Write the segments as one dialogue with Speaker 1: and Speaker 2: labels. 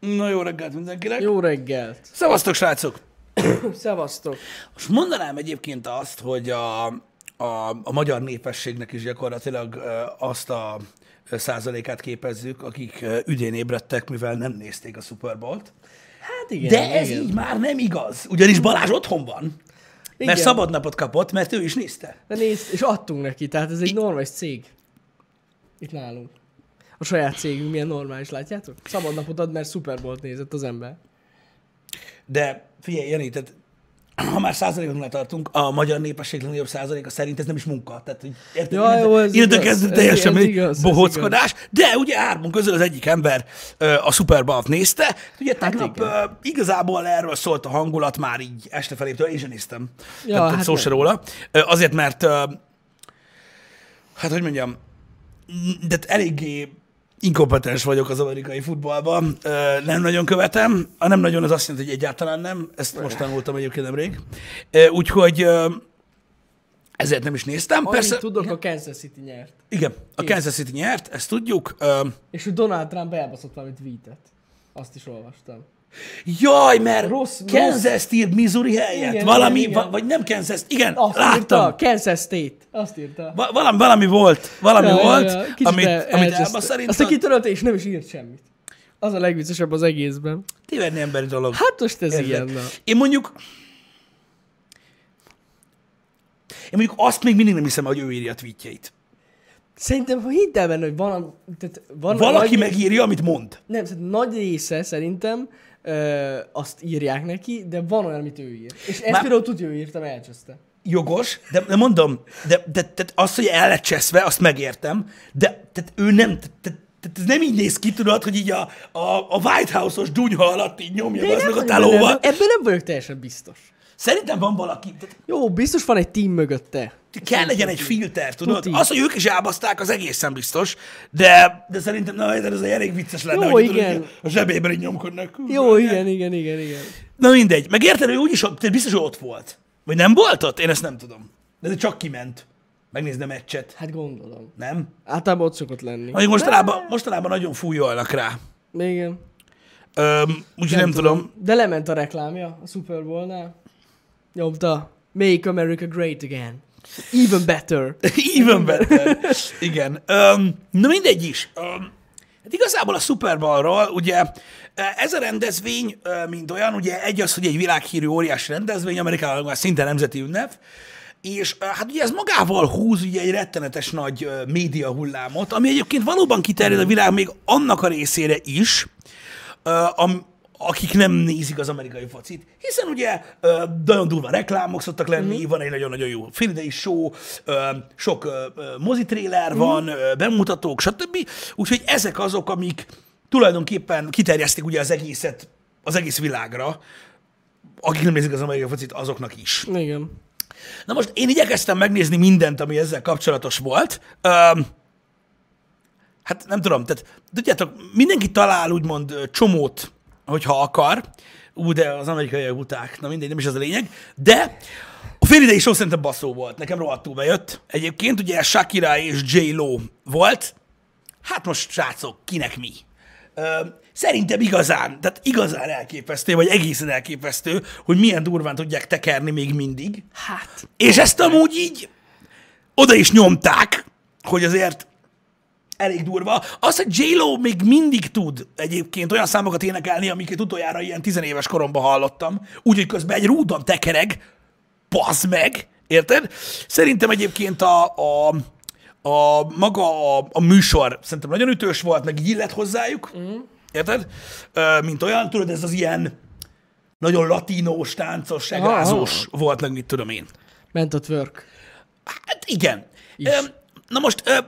Speaker 1: Na jó reggelt mindenkinek. Jó.
Speaker 2: Jó reggelt!
Speaker 1: Szevasztok, srácok!
Speaker 2: Szevasztok!
Speaker 1: Most mondanám egyébként azt, hogy a, a, a magyar népességnek is gyakorlatilag ö, azt a ö, százalékát képezzük, akik ö, ügyén ébredtek, mivel nem nézték a Super Bowl-t.
Speaker 2: Hát igen,
Speaker 1: De ez
Speaker 2: igen.
Speaker 1: így már nem igaz, ugyanis Balázs otthon van, mert
Speaker 2: Igen.
Speaker 1: szabad napot kapott, mert ő is nézte.
Speaker 2: De nézd, és adtunk neki, tehát ez egy normális cég. Itt nálunk. A saját cégünk milyen normális, látjátok? Szabad napot ad, mert Super Bowl-t nézett az ember.
Speaker 1: De figyelj, Jani, tehát ha már százalékoknál tartunk, a magyar népesség legnagyobb százaléka szerint ez nem is munka. Tehát, hogy érted,
Speaker 2: Ja, jó, ez
Speaker 1: innen
Speaker 2: igaz,
Speaker 1: kezdve
Speaker 2: ez-
Speaker 1: teljesen
Speaker 2: ez
Speaker 1: egy
Speaker 2: igaz, ez
Speaker 1: bohóckodás, de ugye hármunk közül az egyik ember ö, a Super Bowl-t nézte. Ugye tegnap
Speaker 2: Hát igen.
Speaker 1: ö, igazából erről szólt a hangulat már így este felétől, én sem néztem.
Speaker 2: Ja,
Speaker 1: Ja, hát
Speaker 2: hát
Speaker 1: szó se róla. Ö, Azért, mert ö, hát hogy mondjam, m- de eléggé inkompetens vagyok az amerikai futballban, Ö, nem nagyon követem, a nem nagyon az azt jelenti, hogy egyáltalán nem, ezt most tanultam egyébként nemrég, Ö, úgyhogy ö, ezért nem is néztem.
Speaker 2: Annyit
Speaker 1: Persze,
Speaker 2: tudok, a Kansas City nyert.
Speaker 1: igen, a Kansas City nyert, ezt tudjuk. Ö,
Speaker 2: És hogy Donald Trump elbaszott valami tweetet. Azt is olvastam.
Speaker 1: Jaj, mert
Speaker 2: Rossz-
Speaker 1: Kansas-t írt Missouri helyett,
Speaker 2: Igen,
Speaker 1: valami,
Speaker 2: igen, igen.
Speaker 1: va- vagy nem Kansas, igen,
Speaker 2: Azt
Speaker 1: láttam.
Speaker 2: írta, Kansas State. Azt írta.
Speaker 1: Va- valami, valami volt, valami volt,
Speaker 2: kicsit
Speaker 1: amit,
Speaker 2: el-
Speaker 1: amit
Speaker 2: elcseszte.
Speaker 1: elba szerintem.
Speaker 2: Aztán kitörölte, és nem is írt semmit. Az a legviccesebb az egészben.
Speaker 1: Tévedni emberi dolog.
Speaker 2: Hát most ez
Speaker 1: Érted?
Speaker 2: ilyen, na.
Speaker 1: Én mondjuk... Én mondjuk azt még mindig nem hiszem, hogy ő írja a tweetjeit.
Speaker 2: Szerintem, ha hidd el benne, hogy van, tehát van
Speaker 1: Valaki
Speaker 2: nagy,
Speaker 1: megírja, amit mond.
Speaker 2: Nem, tehát nagy része szerintem ö, azt írják neki, de van olyan, amit ő ír. És ezt
Speaker 1: Már-
Speaker 2: például tudja, ő írta, mert elcseszte.
Speaker 1: Jogos, de, de mondom, de, de, de azt, hogy el lett cseszve, azt megértem, de tehát ő nem, tehát, tehát ez nem így néz ki, tudod, hogy így a, a, a White House-os dunyha alatt így nyomja
Speaker 2: én
Speaker 1: az meg a
Speaker 2: vagyok benne,
Speaker 1: telóval.
Speaker 2: ebben- Ebben nem vagyok teljesen biztos.
Speaker 1: Szerintem van valaki, tehát
Speaker 2: Jó, biztos van egy team mögötte.
Speaker 1: kell legyen egy filter, tudod?
Speaker 2: Tuti.
Speaker 1: Az, hogy ők is elbaszták, az egészen biztos, de, de szerintem na, ez egy elég vicces lenne,
Speaker 2: Jó,
Speaker 1: hogy tudod,
Speaker 2: igen.
Speaker 1: így a zsebében így nyomkodnak.
Speaker 2: Jó, igen, igen, igen, igen.
Speaker 1: Na mindegy. Meg érted, ő úgyis ott, tehát biztos, hogy ott volt. Vagy nem volt ott? Én ezt nem tudom. De ez csak kiment. Megnézni a meccset.
Speaker 2: Hát gondolom.
Speaker 1: Nem?
Speaker 2: Általában ott szokott lenni.
Speaker 1: Amíg mostanában, mostanában nagyon fújolnak rá.
Speaker 2: Igen.
Speaker 1: Öm, úgyhogy nem, nem tudom. tudom.
Speaker 2: De lement a reklámja a Super Bowl-nál. Nyomta. Make America Great Again. Even better.
Speaker 1: Even better. Igen. Öm, na mindegy is. Öm, hát igazából a Super Bowlról, ugye e, ez a rendezvény, ö, mint olyan, ugye egy az, hogy egy világhírű óriási rendezvény, Amerikában már szinte nemzeti ünnep, és ö, hát ugye ez magával húz ugye egy rettenetes nagy ö, média hullámot, ami egyébként valóban kiterjed a világ még annak a részére is, ö, am, akik nem nézik az amerikai focit. Hiszen ugye ö, nagyon durva reklámok szoktak lenni, mm. van egy nagyon-nagyon jó filmidei show, ö, sok ö, ö, mozitréler mm. van, ö, bemutatók, stb. Úgyhogy ezek azok, amik tulajdonképpen kiterjesztik ugye az egészet, az egész világra, akik nem nézik az amerikai focit, azoknak is.
Speaker 2: Igen.
Speaker 1: Na most én igyekeztem megnézni mindent, ami ezzel kapcsolatos volt. Öm, hát nem tudom, tehát tudjátok, mindenki talál úgymond ö, csomót, hogyha akar, ú, de az amerikaiak uták, na mindegy, nem is az a lényeg, de a félidei show szerintem baszó volt, nekem rohadtul bejött. Egyébként ugye Shakira és J-Lo volt, hát most srácok, kinek mi? Ö, Szerintem igazán, tehát igazán elképesztő, vagy egészen elképesztő, hogy milyen durván tudják tekerni még mindig.
Speaker 2: Hát.
Speaker 1: És ezt amúgy így oda is nyomták, hogy azért elég durva. Az, hogy J-Lo még mindig tud egyébként olyan számokat énekelni, amiket utoljára ilyen tizenéves koromban hallottam, úgyhogy közben egy rúdon tekereg, bazd meg, érted? Szerintem egyébként a, a, a maga a, a műsor szerintem nagyon ütős volt, meg így illet hozzájuk, érted? Ö, mint olyan, tudod, ez az ilyen nagyon latinós, táncos, egrázós volt, meg mit tudom én.
Speaker 2: Ment a twerk.
Speaker 1: Hát igen. Öm, na most öm,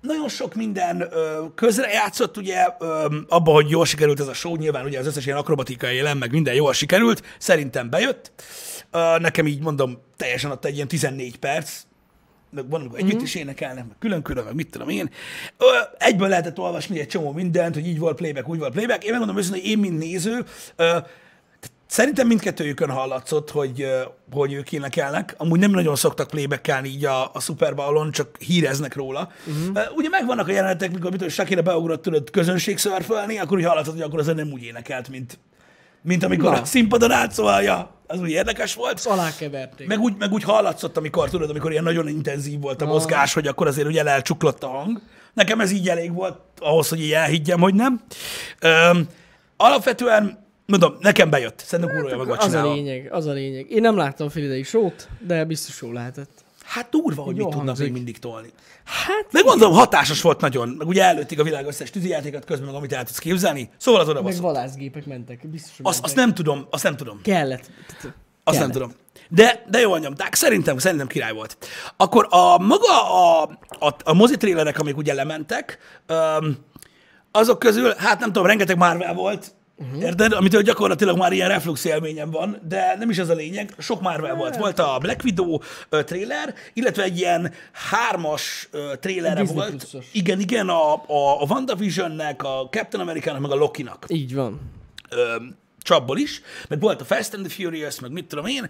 Speaker 1: nagyon sok minden ö, közrejátszott, ugye, öm, abba, hogy jól sikerült ez a show, nyilván ugye az összes ilyen akrobatikai élem, meg minden jól sikerült, szerintem bejött. Ö, nekem így mondom, teljesen adta egy ilyen 14 perc, meg van, amikor együtt is énekelnek, meg külön-külön, meg mit tudom én. Ö, egyből lehetett olvasni egy csomó mindent, hogy így volt playback, úgy volt playback. Én megmondom őszintén, hogy én, mint néző, ö, Szerintem mindkettőjükön hallatszott, hogy, ö, hogy ők énekelnek. Amúgy nem nagyon szoktak playback így a, a Super Bowl-on, csak híreznek róla. Uh-huh. Ugye megvannak a jelenetek, mikor mit, tudom, Shakira beugrott tudod közönség szörfölni, akkor úgy hallatszott, hogy akkor az nem úgy énekelt, mint, mint amikor
Speaker 2: Na. Szóval
Speaker 1: a színpadon állt, szóval ja, az úgy érdekes volt.
Speaker 2: Ezt alákeverték.
Speaker 1: Meg úgy, meg úgy hallatszott, amikor tudod, amikor ilyen nagyon intenzív volt a mozgás, hogy akkor azért ugye elcsuklott a hang. Nekem ez így elég volt ahhoz, hogy így elhiggyem, hogy nem. Öm, alapvetően, mondom, nekem bejött. Szerintem kurva meg
Speaker 2: Hát, az a
Speaker 1: csinálva.
Speaker 2: lényeg, az a lényeg. Én nem láttam fél ideig sót, de biztos jó lehetett.
Speaker 1: Hát durva, hogy mit
Speaker 2: Jó
Speaker 1: tudnak
Speaker 2: hangzik.
Speaker 1: még mindig tolni.
Speaker 2: Hát,
Speaker 1: Meg mondom, hatásos volt nagyon. Meg ugye előtték a világ összes tűzijátékot közben, meg amit el tudsz képzelni. Szóval az
Speaker 2: meg
Speaker 1: odabasz.
Speaker 2: valászgépek mentek, biztos, hogy
Speaker 1: Azt, azt
Speaker 2: mentek.
Speaker 1: nem tudom, azt nem tudom.
Speaker 2: Kellett. Tehát,
Speaker 1: Azt nem
Speaker 2: kellett.
Speaker 1: tudom. De, de jól nyomták, szerintem, szerintem király volt. Akkor a maga a, a, a mozitrélerek, amik ugye lementek, öm, azok közül, hát nem tudom, rengeteg Marvel volt,
Speaker 2: Mhm.
Speaker 1: uh-huh. érted? Amitől gyakorlatilag már ilyen reflux élményem van, de nem is az a lényeg. Sok Marvel
Speaker 2: Hát.
Speaker 1: volt. Volt a Black Widow ö, trailer, illetve egy ilyen hármas ö, trailere
Speaker 2: Disney
Speaker 1: volt.
Speaker 2: pluszos.
Speaker 1: Igen, igen, a, a, a WandaVision-nek, a Captain America-nak, meg a Loki-nak
Speaker 2: Így van.
Speaker 1: ö, csapból is, meg volt a Fast and the Furious, meg mit tudom én.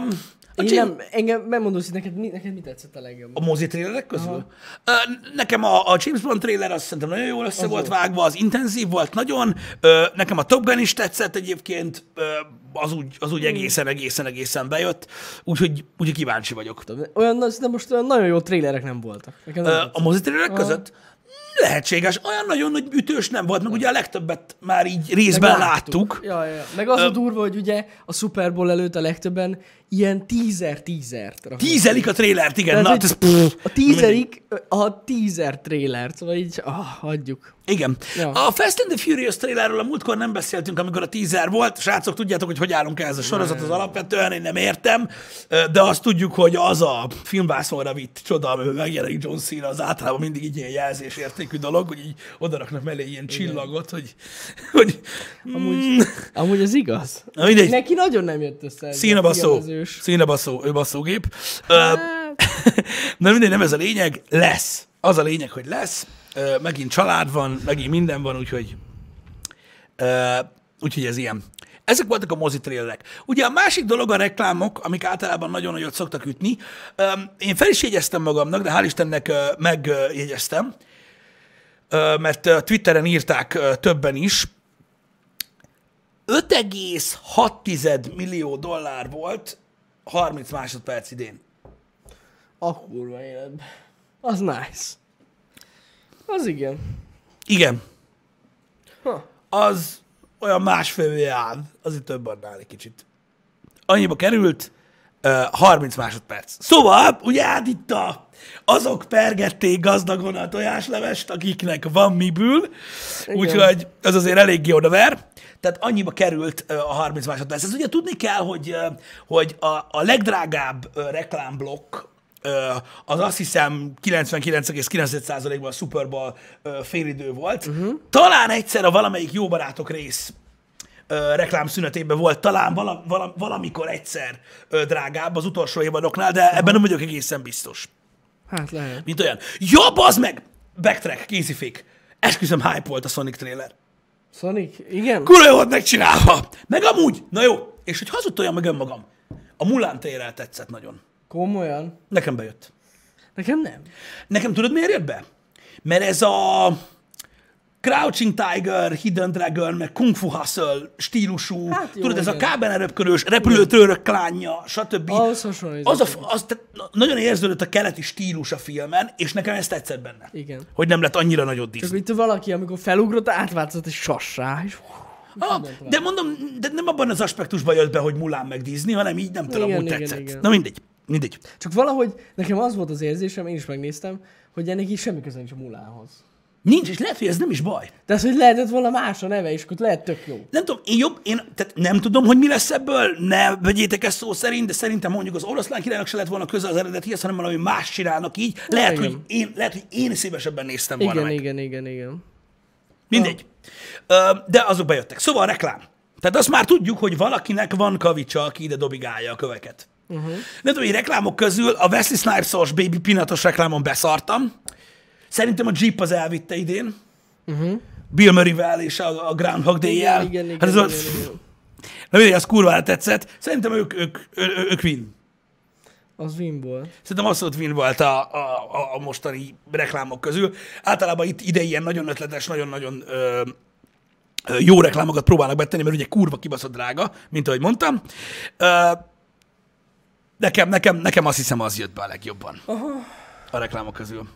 Speaker 1: Um, a,
Speaker 2: Én
Speaker 1: csin-
Speaker 2: nem, engem megmondod, hogy neked mi, neked mi tetszett a legjobban.
Speaker 1: a mozi trélerek közül? Ö, nekem a, a James Bond trailer azt szerintem nagyon jól össze volt vágva, az intenzív volt nagyon. Ö, nekem a Top Gun is tetszett egyébként, ö, az úgy, az úgy egészen, egészen, egészen bejött, úgyhogy, úgyhogy kíváncsi vagyok.
Speaker 2: Olyan, na- de most olyan nagyon jó trélerek nem voltak. Nekem nem
Speaker 1: Ö,
Speaker 2: tetszett.
Speaker 1: a mozitrélerek között lehetséges, olyan nagyon nagy ütős nem volt, meg ugye a legtöbbet már így részben láttuk.
Speaker 2: Ja, ja, ja. Meg az a durva, hogy ugye a Super Bowl előtt a legtöbben ilyen tízer-tízert raknak.
Speaker 1: Tízelik a trélert, igen.
Speaker 2: Tehát,
Speaker 1: Na,
Speaker 2: hogy
Speaker 1: hát ez, pff,
Speaker 2: a tízerik, a tízer trélert, szóval így, ah, hagyjuk.
Speaker 1: Igen.
Speaker 2: Ja.
Speaker 1: A Fast and the Furious trailerről a múltkor nem beszéltünk, amikor a teaser volt. Srácok, tudjátok, hogy hogy állunk ehhez a sorozathoz alapvetően, én nem értem, de azt tudjuk, hogy az a filmvászonra vitt csoda, amiben megjelenik John Cena, az általában mindig így ilyen jelzésértékű dolog, hogy így odaraknak mellé ilyen csillagot, hogy... hogy Amúgy...
Speaker 2: Amúgy az igaz.
Speaker 1: Na mindegy,
Speaker 2: Neki nagyon nem jött össze. ez a
Speaker 1: Cena baszó.
Speaker 2: kielezős.
Speaker 1: Cena baszó, ő baszógép. Ö, Na mindegy, nem ez a lényeg, lesz. Az a lényeg, hogy lesz. Ö, Megint család van, megint minden van, úgyhogy, ö, úgyhogy ez ilyen. Ezek voltak a mozitrélek. Ugye a másik dolog a reklámok, amik általában nagyon nagyot szoktak ütni. Öm, Én fel is jegyeztem magamnak, de hál' Istennek ö, megjegyeztem, ö, mert ö, Twitteren írták ö, többen is, 5,6 millió dollár volt 30 másodperc idén.
Speaker 2: A kurva életben. Az nice. Az igen.
Speaker 1: Igen,
Speaker 2: Ha.
Speaker 1: az olyan másfél áll, az itt több annál egy kicsit. Annyiba került, ö, 30 másodperc. Szóval, ugye hát itt a, azok pergették gazdagon a tojáslevest, akiknek van miből, úgyhogy ez azért eléggé odaver. Tehát annyiba került ö, a 30 másodperc. Ez ugye tudni kell, hogy, ö, hogy a, a legdrágább ö, reklámblokk Ö, az azt hiszem 99,9%-ban a Super Bowl ö, félidő volt. Uh-huh. Talán egyszer a valamelyik jó barátok rész ö, reklámszünetében volt, talán vala, vala, valamikor egyszer ö, drágább az utolsó évadoknál, de ebben nem vagyok egészen biztos.
Speaker 2: Hát lehet.
Speaker 1: Mint olyan. Ja, bazd meg! Backtrack, készifék. Esküszöm, hype volt a Sonic trailer.
Speaker 2: Sonic, igen?
Speaker 1: Kurva jó volt megcsinálva! Meg amúgy, na jó, és hogy hazudtoljam meg önmagam. A Mulan trailer tetszett nagyon.
Speaker 2: Komolyan?
Speaker 1: Nekem bejött.
Speaker 2: Nekem nem.
Speaker 1: Nekem tudod, miért jött be? Mert ez a Crouching Tiger, Hidden Dragon, meg Kung Fu Hustle stílusú,
Speaker 2: Hát
Speaker 1: hát
Speaker 2: jó,
Speaker 1: jó, tudod, ez a
Speaker 2: igen.
Speaker 1: kábelneröpkörös, repülőtőrök klánja, stb.
Speaker 2: Ahhoz hasonlít.
Speaker 1: Az a, f- az, tehát na- nagyon érződött a keleti stílus a filmen, és nekem ez tetszett benne.
Speaker 2: Igen.
Speaker 1: Hogy nem lett annyira nagyot
Speaker 2: Csak
Speaker 1: Disney.
Speaker 2: itt valaki, amikor felugrott, átváltozott egy sassá, és
Speaker 1: Ah, de mondom, de nem abban az aspektusban jött be, hogy Mulán meg Disney, hanem így nem tudom,
Speaker 2: Igen,
Speaker 1: úgy
Speaker 2: igen,
Speaker 1: tetszett.
Speaker 2: igen.
Speaker 1: Na mindegy, mindegy.
Speaker 2: Csak valahogy nekem az volt az érzésem, én is megnéztem, hogy ennek így semmi köze nincs a mulához.
Speaker 1: Nincs, és lehet, hogy ez nem is baj.
Speaker 2: De az, hogy lehetett volna más a neve, és akkor lehet tök jó.
Speaker 1: nem tudom, én jobb, én tehát nem tudom, hogy mi lesz ebből, ne vegyétek ezt szó szerint, de szerintem mondjuk az oroszlán királynak se lett volna köze az eredetihez, hanem valami más csinálnak így. Lehet,
Speaker 2: igen.
Speaker 1: hogy én, lehet, hogy én szívesebben néztem volna
Speaker 2: Igen,
Speaker 1: meg.
Speaker 2: igen, igen, igen.
Speaker 1: Mindegy. Ö, De azok bejöttek. Szóval a reklám. Tehát azt már tudjuk, hogy valakinek van kavicsa, aki ide dobigálja a köveket. Uh-huh. Nem tudom, hogy reklámok közül a Wesley Snipes-os Baby Pinatos reklámon beszartam. Szerintem a Jeep az elvitte idén. Uh-huh. Bill Murray-vel és a, a Groundhog
Speaker 2: Igen,
Speaker 1: Day-jel.
Speaker 2: igen, igen,
Speaker 1: hát ez
Speaker 2: igen,
Speaker 1: a,
Speaker 2: igen, igen.
Speaker 1: Na mindegy, az kurvára tetszett. Szerintem ők, ők, ők, ők win.
Speaker 2: Az Wimból.
Speaker 1: Szerintem abszolút win volt a, a, a- a mostani reklámok közül. Általában itt ide ilyen nagyon ötletes, nagyon-nagyon ö, ö, jó reklámokat próbálnak betenni, mert ugye kurva kibaszott drága, mint ahogy mondtam. Ö, nekem, nekem, nekem azt hiszem az jött be a legjobban a reklámok közül.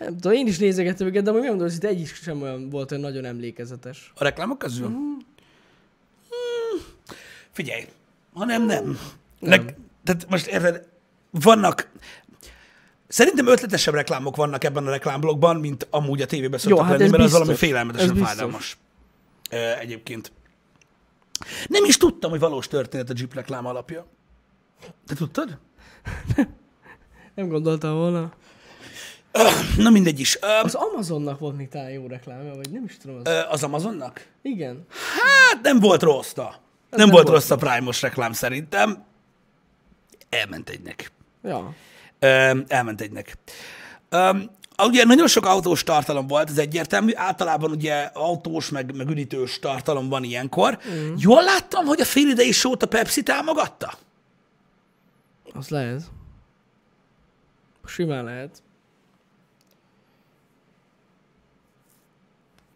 Speaker 2: Nem tudom, én is nézegettem őket, de amúgy megmondom, hogy itt egy is sem olyan volt olyan nagyon emlékezetes.
Speaker 1: A reklámok közül? Mm. Figyelj, ha nem, nem. Leg, tehát most érted, vannak, szerintem ötletesebb reklámok vannak ebben a reklámblogban, mint amúgy a tévében szoktak
Speaker 2: hát
Speaker 1: lenni,
Speaker 2: ez
Speaker 1: mert az
Speaker 2: biztos.
Speaker 1: valami félelmetesen
Speaker 2: Ez biztos.
Speaker 1: fájdalmas. Ö, egyébként. Nem is tudtam, hogy valós történet a Jeep reklám alapja. Te tudtad?
Speaker 2: Nem gondoltam volna.
Speaker 1: Na mindegy is. Ö,
Speaker 2: Az Amazonnak volt még talán jó reklámja, vagy nem is tudom. Az...
Speaker 1: ö, Az Amazonnak?
Speaker 2: Igen.
Speaker 1: Hát nem volt rossz, na. Nem, nem
Speaker 2: nem
Speaker 1: volt,
Speaker 2: volt
Speaker 1: rossz a Prime-os reklám szerintem. Elment egynek.
Speaker 2: Ja.
Speaker 1: Öm, elment egynek. Öm, a- ugye nagyon sok autós tartalom volt, ez egyértelmű. Általában ugye autós, meg, meg üdítős tartalom van ilyenkor. Mm. Jól láttam, hogy a félidei sót a Pepsi támogatta?
Speaker 2: Az lehet. Simán lehet.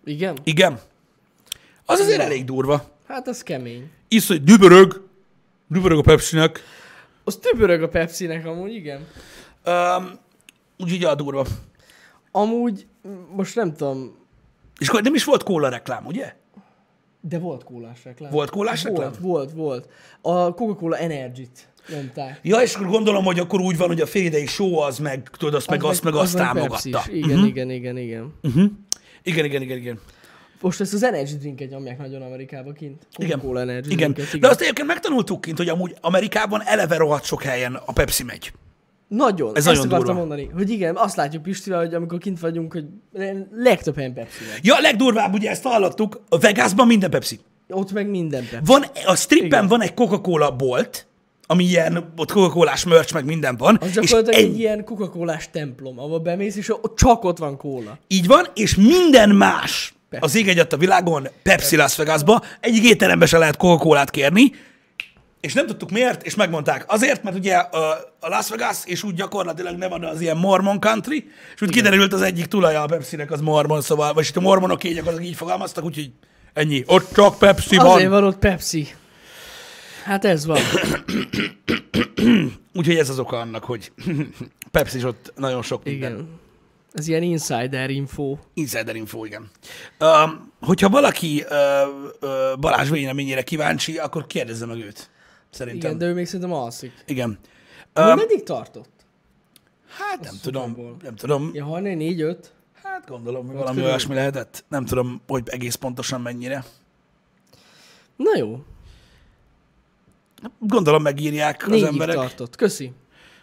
Speaker 2: Igen?
Speaker 1: Igen. Az azért elég durva.
Speaker 2: Hát az kemény.
Speaker 1: Isz, hogy dübörög. Dübörög a Pepsinek.
Speaker 2: Az többörög a Pepsi-nek amúgy, igen.
Speaker 1: Öm, úgyhogy a durva.
Speaker 2: Amúgy, m- most nem tudom,
Speaker 1: És akkor nem is volt kóla reklám, ugye?
Speaker 2: de volt kólás reklám.
Speaker 1: Volt kólás reklám?
Speaker 2: Volt, volt, volt. A Coca-Cola Energy-t nyomták.
Speaker 1: Ja, és akkor gondolom, hogy akkor úgy van, hogy a félidei só az meg, tudod, azt meg, azt meg azt támogatta. Mhm.
Speaker 2: Pepsi-s. Igen, uh-huh. igen, igen, igen. Uh-huh.
Speaker 1: Igen, igen, igen, igen.
Speaker 2: Most ezt az energy drinket nyomják nagyon Amerikába kint.
Speaker 1: Igen.
Speaker 2: Coca-Cola energy
Speaker 1: Igen.
Speaker 2: drinket,
Speaker 1: De azt egyébként megtanultuk kint, hogy amúgy Amerikában eleve rohadt sok helyen a Pepsi megy.
Speaker 2: Nagyon,
Speaker 1: Ez
Speaker 2: ez ezt
Speaker 1: nagyon
Speaker 2: nagyon akartam
Speaker 1: durva.
Speaker 2: mondani, hogy igen, azt látjuk Pistivel, hogy amikor kint vagyunk, hogy legtöbb helyen pepsi van.
Speaker 1: Ja, a legdurvább, ugye ezt hallottuk, a Vegasban minden Pepsi.
Speaker 2: Ott meg minden Pepsi.
Speaker 1: Van, a strippen Igen. van egy Coca-Cola bolt, ami ilyen, ott Coca-Colás merch, meg minden van.
Speaker 2: Az
Speaker 1: és
Speaker 2: gyakorlatilag egy
Speaker 1: egy,
Speaker 2: ilyen coca cola templom, ahol bemész, és ott csak ott van kóla.
Speaker 1: így van, és minden más
Speaker 2: Pepsi.
Speaker 1: az ég egyet a világon Pepsi Las Vegasba. Egyik étterembe se lehet Coca-Colát kérni, és nem tudtuk miért, és megmondták. Azért, mert ugye a, a Las Vegas, és úgy gyakorlatilag Nevada az ilyen mormon country, és úgy kiderült az egyik tulaja a Pepsi-nek az mormon, szóval, vagyis itt a mormonok így gyakorlatilag így fogalmaztak, úgyhogy ennyi. Ott csak Pepsi
Speaker 2: Azért
Speaker 1: van.
Speaker 2: van ott Pepsi. Hát ez van.
Speaker 1: Úgyhogy ez az oka annak, hogy Pepsi is ott nagyon sok minden.
Speaker 2: Igen. Ez ilyen insider info.
Speaker 1: Insider info, igen. Um, hogyha valaki uh, uh, Balázs véleményére kíváncsi, akkor kérdezze meg őt. Szerintem.
Speaker 2: Igen,
Speaker 1: Igen.
Speaker 2: de ő még szerintem alszik.
Speaker 1: igen.
Speaker 2: Um,
Speaker 1: Um,
Speaker 2: meddig tartott?
Speaker 1: hát nem tudom,
Speaker 2: Superból.
Speaker 1: nem tudom.
Speaker 2: Ja, 4 5
Speaker 1: Hát gondolom, hogy valami
Speaker 2: körül.
Speaker 1: olyasmi lehetett. Nem tudom, hogy egész pontosan mennyire.
Speaker 2: Na jó,
Speaker 1: Gondolom megírják az
Speaker 2: négyig
Speaker 1: emberek.
Speaker 2: tartott. Köszi.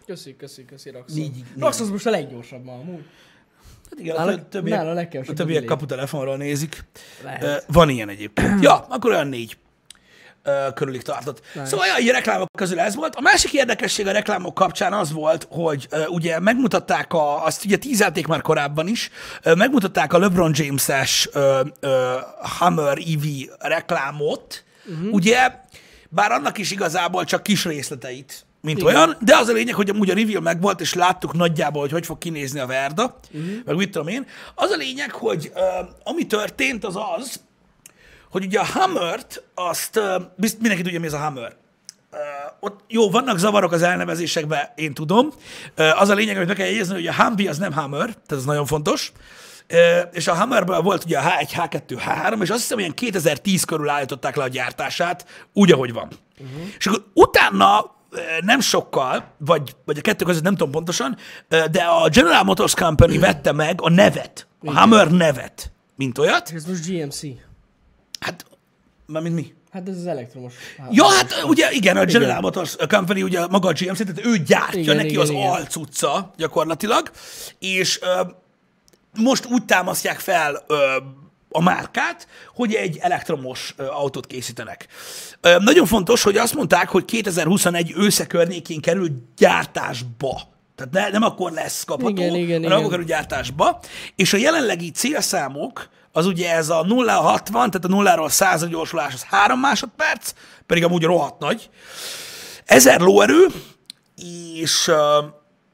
Speaker 2: Köszi, köszi, köszi, Raxon.
Speaker 1: Négyig, négyig.
Speaker 2: Raxon most a leggyorsabb ma amúgy.
Speaker 1: Hát igen, a
Speaker 2: Nála-
Speaker 1: tö- többiek,
Speaker 2: nála
Speaker 1: a
Speaker 2: legkevesebb
Speaker 1: többiek
Speaker 2: idő lép.
Speaker 1: kaputelefonról nézik.
Speaker 2: Lehet.
Speaker 1: Ö, Van ilyen egyébként. ja, akkor olyan négy ö, körülig tartott.
Speaker 2: Nice.
Speaker 1: Szóval ja, így a reklámok közül ez volt. A másik érdekesség a reklámok kapcsán az volt, hogy ö, ugye megmutatták, a, azt ugye tízelték már korábban is, ö, megmutatták a LeBron James-es ö, ö, Hammer EV reklámot,
Speaker 2: Mhm.
Speaker 1: uh-huh. ugye, bár annak is igazából csak kis részleteit, mint
Speaker 2: Igen.
Speaker 1: olyan, de az a lényeg, hogy amúgy a reveal megvolt, és láttuk nagyjából, hogy hogy fog kinézni a Verda,
Speaker 2: Mhm.
Speaker 1: uh-huh. meg mit tudom én. Az a lényeg, hogy ö, ami történt, az az, hogy ugye a Hammert, azt ö, bizt- mindenki tudja, mi ez a Hammer. Ö, Ott jó, vannak zavarok az elnevezésekben, én tudom. Ö, Az a lényeg, hogy meg kell jegyezni, hogy a Humvee az nem Hammer, tehát ez nagyon fontos. Ö, És a Hammerből volt ugye a H1, H2, H3, és azt hiszem, ilyen 2010 körül állították le a gyártását, úgy, ahogy van. Uh-huh. És akkor utána ö, nem sokkal, vagy, vagy a kettő között nem tudom pontosan, ö, de a General Motors Company vette meg a nevet, a Hammer nevet, mint olyat.
Speaker 2: És ez most GMC.
Speaker 1: Hát, mármint mi?
Speaker 2: Hát ez az elektromos.
Speaker 1: Ja, hát ugye igen, a General Motors Company, ugye maga a GMC, tehát ő gyártja igen,
Speaker 2: Igen,
Speaker 1: neki igen,
Speaker 2: igen,
Speaker 1: az
Speaker 2: igen.
Speaker 1: alcuca gyakorlatilag, és ö, most úgy támasztják fel ö, a márkát, hogy egy elektromos ö, autót készítenek. Ö, nagyon fontos, hogy azt mondták, hogy 2021 ősze környékén kerül gyártásba. Tehát ne, nem akkor lesz kapható,
Speaker 2: Igen, igen,
Speaker 1: hanem akkor
Speaker 2: igen.
Speaker 1: kerül gyártásba. És a jelenlegi célszámok, az ugye ez a 0 60, tehát a 0-ról 100 gyorsulás az 3 másodperc, pedig amúgy rohadt nagy. 1000 lóerő, és ö,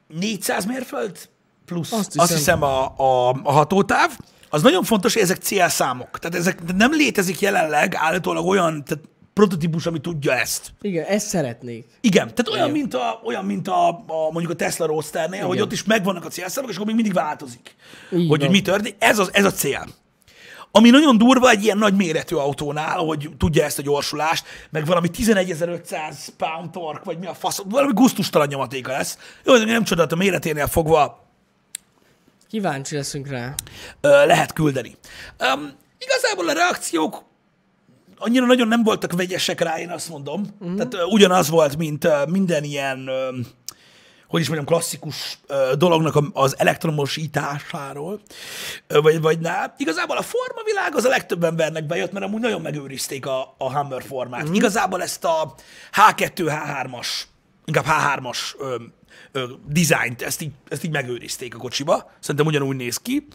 Speaker 1: 400 mérföld, plusz azt
Speaker 2: Azt
Speaker 1: hiszem,
Speaker 2: hiszem.
Speaker 1: azt hiszem a, a, a hatótáv. Az nagyon fontos, hogy ezek célszámok. Tehát ezek nem létezik jelenleg állítólag olyan tehát prototípus, ami tudja ezt.
Speaker 2: Igen, ezt szeretnék.
Speaker 1: Igen, tehát olyan, mint a, olyan, mint a, a mondjuk a Tesla Roadsternél, hogy ott is megvannak a célszámok, és akkor még mindig változik,
Speaker 2: Így
Speaker 1: hogy, hogy
Speaker 2: van.
Speaker 1: mi történik. Ez, az, ez a cél. Ami nagyon durva egy ilyen nagy méretű autónál, hogy tudja ezt a gyorsulást, meg valami 11.500 pound tork, vagy mi a fasz, valami guztustalan nyomatéka lesz. Jó, de nem csodát, a méreténél fogva
Speaker 2: Kíváncsi leszünk rá.
Speaker 1: ö, lehet küldeni. Um, igazából a reakciók annyira nagyon nem voltak vegyesek rá, én azt mondom. Uh-huh. Tehát ö, ugyanaz volt, mint ö, minden ilyen, ö, hogy is mondjam, klasszikus ö, dolognak a- az elektromosításáról, ö, vagy, vagy ná. Igazából a formavilág az a legtöbb embernek bejött, mert amúgy nagyon megőrizték a, a Hummer formát. Uh-huh. Igazából ezt a H2-H3-as, inkább H3-as ö, ö, dizájnt, ezt így, ezt így megőrizték a kocsiba. Szerintem ugyanúgy néz ki.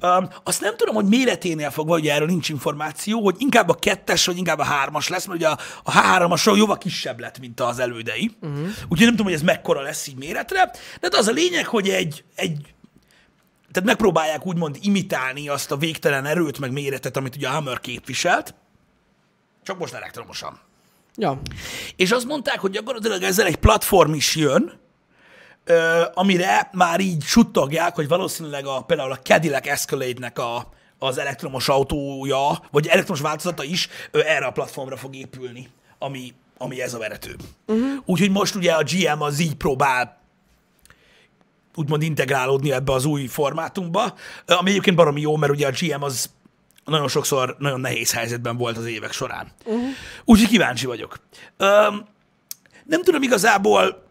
Speaker 1: Um, azt nem tudom, hogy méreténél fogva, ugye erről nincs információ, hogy inkább a kettes, vagy inkább a hármas lesz, mert ugye a, a hármasról jóval kisebb lett, mint az elődei. Uh-huh. Úgyhogy nem tudom, hogy ez mekkora lesz így méretre, de hát az a lényeg, hogy egy, egy tehát megpróbálják úgymond imitálni azt a végtelen erőt, meg méretet, amit ugye a Hammer képviselt, csak most elektromosan.
Speaker 2: Ja,
Speaker 1: És azt mondták, hogy gyakorlatilag ezzel egy platform is jön, ö, amire már így suttogják, hogy valószínűleg a, például a Cadillac Escalade-nek a, az elektromos autója, vagy elektromos változata is ö, erre a platformra fog épülni, ami, ami ez a verető. Uh-huh. Úgyhogy most ugye a GM az így próbál úgymond integrálódni ebbe az új formátumba, ö, ami egyébként baromi jó, mert ugye a GM az nagyon sokszor nagyon nehéz helyzetben volt az évek során. Uh-huh. Úgyhogy kíváncsi vagyok. Öm, nem tudom igazából,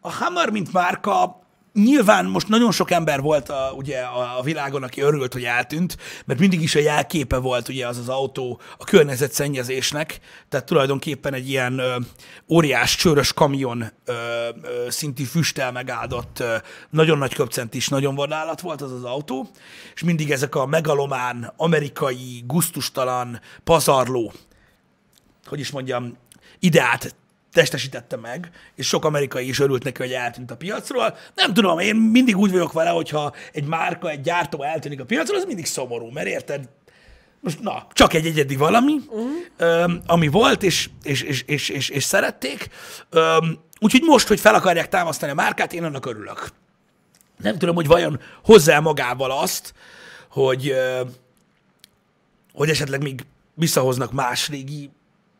Speaker 1: a Hammer, mint márka, nyilván most nagyon sok ember volt a, ugye a, a világon, aki örült, hogy eltűnt, mert mindig is a jelképe volt ugye az az autó a környezetszennyezésnek, tehát tulajdonképpen egy ilyen ö, óriás csőrös kamion ö, ö, szintű füsttel megáldott, ö, nagyon nagy köpcentis, nagyon vadállat volt az az autó, és mindig ezek a megalomán, amerikai, guztustalan, pazarló hogy is mondjam, ideát testesítette meg, és sok amerikai is örült neki, hogy eltűnt a piacról. Nem tudom, én mindig úgy vagyok vele, hogyha egy márka, egy gyártó eltűnik a piacról, az mindig szomorú, mert érted? Most na, csak egy egyedi valami, öm, ami volt, és, és, és, és, és, és szerették. Öm, úgyhogy most, hogy fel akarják támasztani a márkát, én annak örülök. Nem tudom, hogy vajon hozzá magával azt, hogy, ö, hogy esetleg még visszahoznak más régi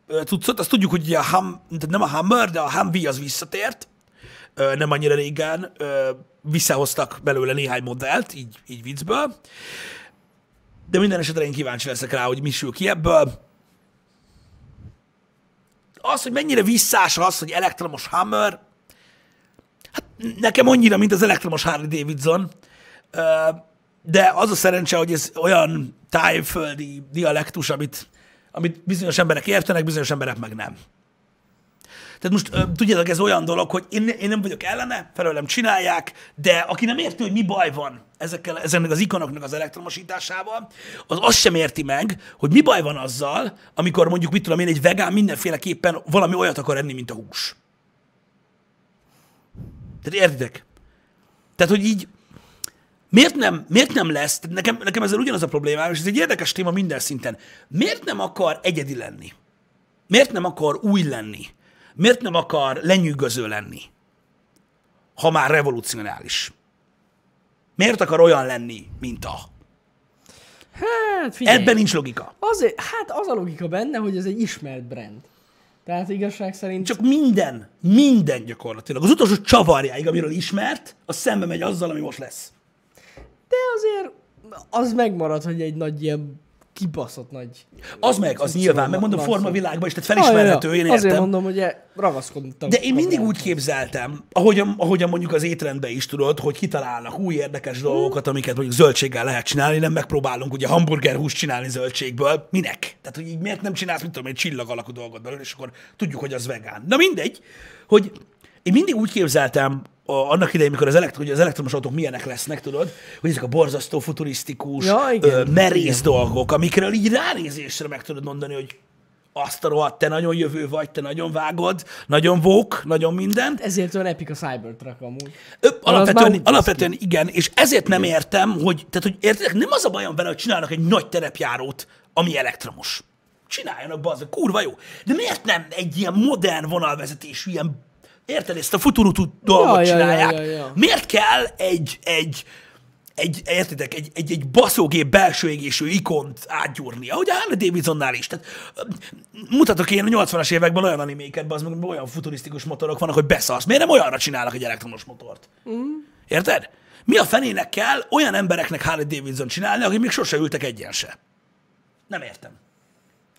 Speaker 1: ö, cuccot. Azt tudjuk, hogy ugye a hum, tehát nem a Hammer, de a Humvee az visszatért. Ö, Nem annyira régen ö, visszahoztak belőle néhány modellt, így, így viccből. De minden esetre én kíváncsi leszek rá, hogy mi sül ki ebből. Az, hogy mennyire visszás az, hogy elektromos Hammer, hát nekem annyira, mint az elektromos Harley Davidson, Ö, de az a szerencse, hogy ez olyan tájföldi dialektus, amit, amit bizonyos emberek értenek, bizonyos emberek meg nem. Tehát most ö, tudjátok, ez olyan dolog, hogy én, én nem vagyok ellene, felőlem csinálják, de aki nem érti, hogy mi baj van ezekkel, ezeknek az ikonoknak az elektromosításával, az azt sem érti meg, hogy mi baj van azzal, amikor mondjuk, mit tudom én, egy vegán mindenféleképpen valami olyat akar enni, mint a hús. Tehát értitek? Tehát, hogy így, Miért nem, miért nem lesz, tehát nekem, nekem ezzel ugyanaz a problémám, és ez egy érdekes téma minden szinten. Miért nem akar egyedi lenni? Miért nem akar új lenni? Miért nem akar lenyűgöző lenni? Ha már revolucionális. Miért akar olyan lenni, mint a?
Speaker 2: hát figyelj.
Speaker 1: Ebben nincs logika.
Speaker 2: Azért, hát az a logika benne, hogy ez egy ismert brand. Tehát igazság szerint
Speaker 1: Csak minden, minden gyakorlatilag. Az utolsó csavarjáig, amiről ismert, az szembe megy azzal, ami most lesz.
Speaker 2: De azért az megmarad, hogy egy nagy ilyen kibaszott nagy...
Speaker 1: Az meg, az nyilván, megmondom,
Speaker 2: Maxon.
Speaker 1: forma világban is, tehát felismerhető, én
Speaker 2: Azért
Speaker 1: értem.
Speaker 2: mondom, hogy e- ragaszkodtam.
Speaker 1: De én mindig
Speaker 2: hozzá.
Speaker 1: úgy képzeltem, ahogyan, ahogyan mondjuk az étrendben is tudod, hogy kitalálnak új érdekes dolgokat, amiket mondjuk zöldséggel lehet csinálni, nem megpróbálunk ugye hamburger húst csinálni zöldségből. Minek? Tehát, hogy így miért nem csinálsz, mit tudom, egy csillag alakú dolgot belőle, és akkor tudjuk, hogy az vegán. Na mindegy, hogy Én mindig úgy képzeltem, a, annak idején, mikor az, elektro, hogy az elektromos autók milyenek lesznek, tudod, hogy ezek a borzasztó futurisztikus,
Speaker 2: Ja, igen.
Speaker 1: ö, merész dolgok, amikről így ránézésre meg tudod mondani, hogy azt a rohadt, te nagyon jövő vagy, te nagyon vágod, nagyon vók, nagyon minden.
Speaker 2: Ezért olyan epik a Cybertruck amúgy.
Speaker 1: Ö,
Speaker 2: már
Speaker 1: alapvetően,
Speaker 2: úgy néz
Speaker 1: alapvetően igen, és ezért nem értem, hogy, tehát, hogy értitek, nem az a bajom vele, hogy csinálnak egy nagy terepjárót, ami elektromos. Csináljanak, bazd, kurva jó. De miért nem egy ilyen modern vonalvezetésű, ilyen, érted, ezt a futurutú dolgot
Speaker 2: ja, ja,
Speaker 1: csinálják?
Speaker 2: ja, ja.
Speaker 1: Miért kell egy, egy, egy, értitek, egy, egy, egy baszógép belső égésű ikont átgyúrni, ahogy a Harley Davidsonnál is. Tehát, ö, mutatok én a 80-as években olyan animéket, az meg olyan futurisztikus motorok vannak, hogy beszarsz. Miért nem olyanra csinálnak egy elektromos motort?
Speaker 2: Mm.
Speaker 1: Érted? Mi a fenének kell olyan embereknek Harley Davidson csinálni, akik még sose ültek egyen se? Nem értem.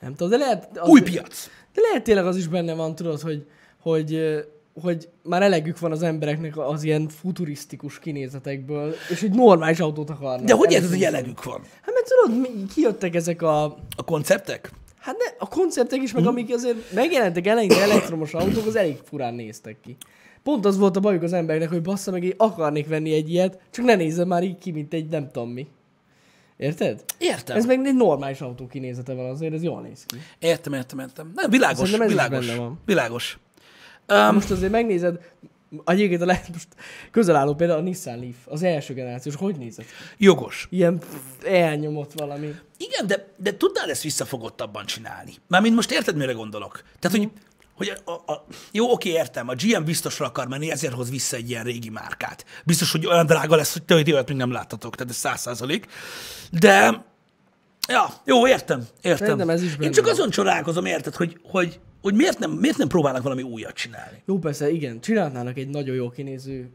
Speaker 2: Nem tudom, de lehet... Az,
Speaker 1: Új piac.
Speaker 2: De lehet tényleg az is benne van, tudod, hogy, hogy, ö, hogy már elegük van az embereknek az ilyen futurisztikus kinézetekből, és egy normális autót akarnak.
Speaker 1: De hogy érted, hogy
Speaker 2: Elektromos.
Speaker 1: elegük van?
Speaker 2: Hát mert tudod, mi- kijöttek ezek a...
Speaker 1: A konceptek?
Speaker 2: Hát ne, a konceptek is,
Speaker 1: Mhm.
Speaker 2: meg amik azért megjelentek eleinte elektromos autók, az elég furán néztek ki. Pont az volt a bajuk az embernek, hogy bassza meg, én akarnék venni egy ilyet, csak ne nézzen már így ki, mint egy nem tudom mi. Érted?
Speaker 1: Értem.
Speaker 2: Ez meg egy normális autó kinézete van azért, ez jól néz ki.
Speaker 1: Értem, értem, értem. Nem, világos,
Speaker 2: Szerintem ez is
Speaker 1: világos.
Speaker 2: benne van.
Speaker 1: Világos.
Speaker 2: Hát Most azért megnézed, egyébként a lehet most közel álló például a Nissan Leaf, az első generációs, hogy nézett? ki?
Speaker 1: Jogos.
Speaker 2: Ilyen pff, elnyomott valami.
Speaker 1: Igen, de, de tudnál ezt visszafogottabban csinálni. Mm. Mármint most érted, mire gondolok? Tehát, hogy, hogy a, a, a, jó, oké, értem, a GM biztosra akar menni, ezért hoz vissza egy ilyen régi márkát. Biztos, hogy olyan drága lesz, hogy te hogy olyat még nem láttatok, tehát ez száz százalék. De, ja, jó, értem, értem.
Speaker 2: Szerintem ez is benne
Speaker 1: Én csak
Speaker 2: van.
Speaker 1: azon csodálkozom, érted, hogy, hogy, hogy miért, nem, miért nem próbálnak valami újat csinálni.
Speaker 2: Jó, persze, igen, csinálnának egy nagyon jó kinéző,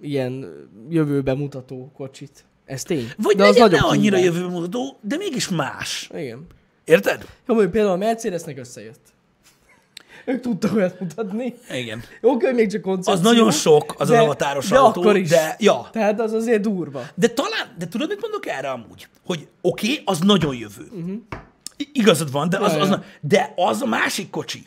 Speaker 2: ilyen ö, jövőbe mutató kocsit. Ez tény.
Speaker 1: Vagy de legyen ne
Speaker 2: nagyon
Speaker 1: annyira
Speaker 2: kínál.
Speaker 1: jövőmutató, de mégis más.
Speaker 2: Igen.
Speaker 1: Érted?
Speaker 2: Jó, mondjuk például a Mercedesnek összejött. Ők tudtak olyat mutatni.
Speaker 1: Igen.
Speaker 2: Jó, hogy még csak koncepció.
Speaker 1: Az nagyon sok, az
Speaker 2: de-
Speaker 1: a avatáros
Speaker 2: de
Speaker 1: autó,
Speaker 2: akkor is.
Speaker 1: de ja.
Speaker 2: Tehát az azért durva.
Speaker 1: De talán, de tudod, mit mondok erre amúgy? Hogy oké, okay, az nagyon jövő. Uh-huh. Igazad van, de az,
Speaker 2: Mhm. Ja,
Speaker 1: az,
Speaker 2: ja.
Speaker 1: na- de az a másik kocsi,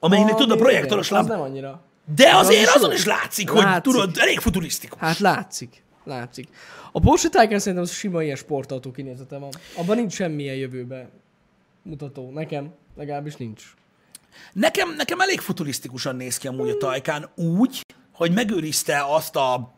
Speaker 1: amelynek tudod, a
Speaker 2: Ami
Speaker 1: projektoros
Speaker 2: igen,
Speaker 1: lámpa.
Speaker 2: Az nem annyira.
Speaker 1: De azért
Speaker 2: is
Speaker 1: azon
Speaker 2: jó.
Speaker 1: is látszik, hogy
Speaker 2: Látszik.
Speaker 1: tudod, elég futurisztikus.
Speaker 2: Hát látszik. Látszik. A Porsche Taycan szerintem az sima ilyen sportautó kinézete van. Abban nincs semmilyen jövőbe mutató. Nekem legalábbis nincs.
Speaker 1: Nekem, nekem elég futurisztikusan néz ki amúgy a Tajkán úgy, hogy megőrizte azt a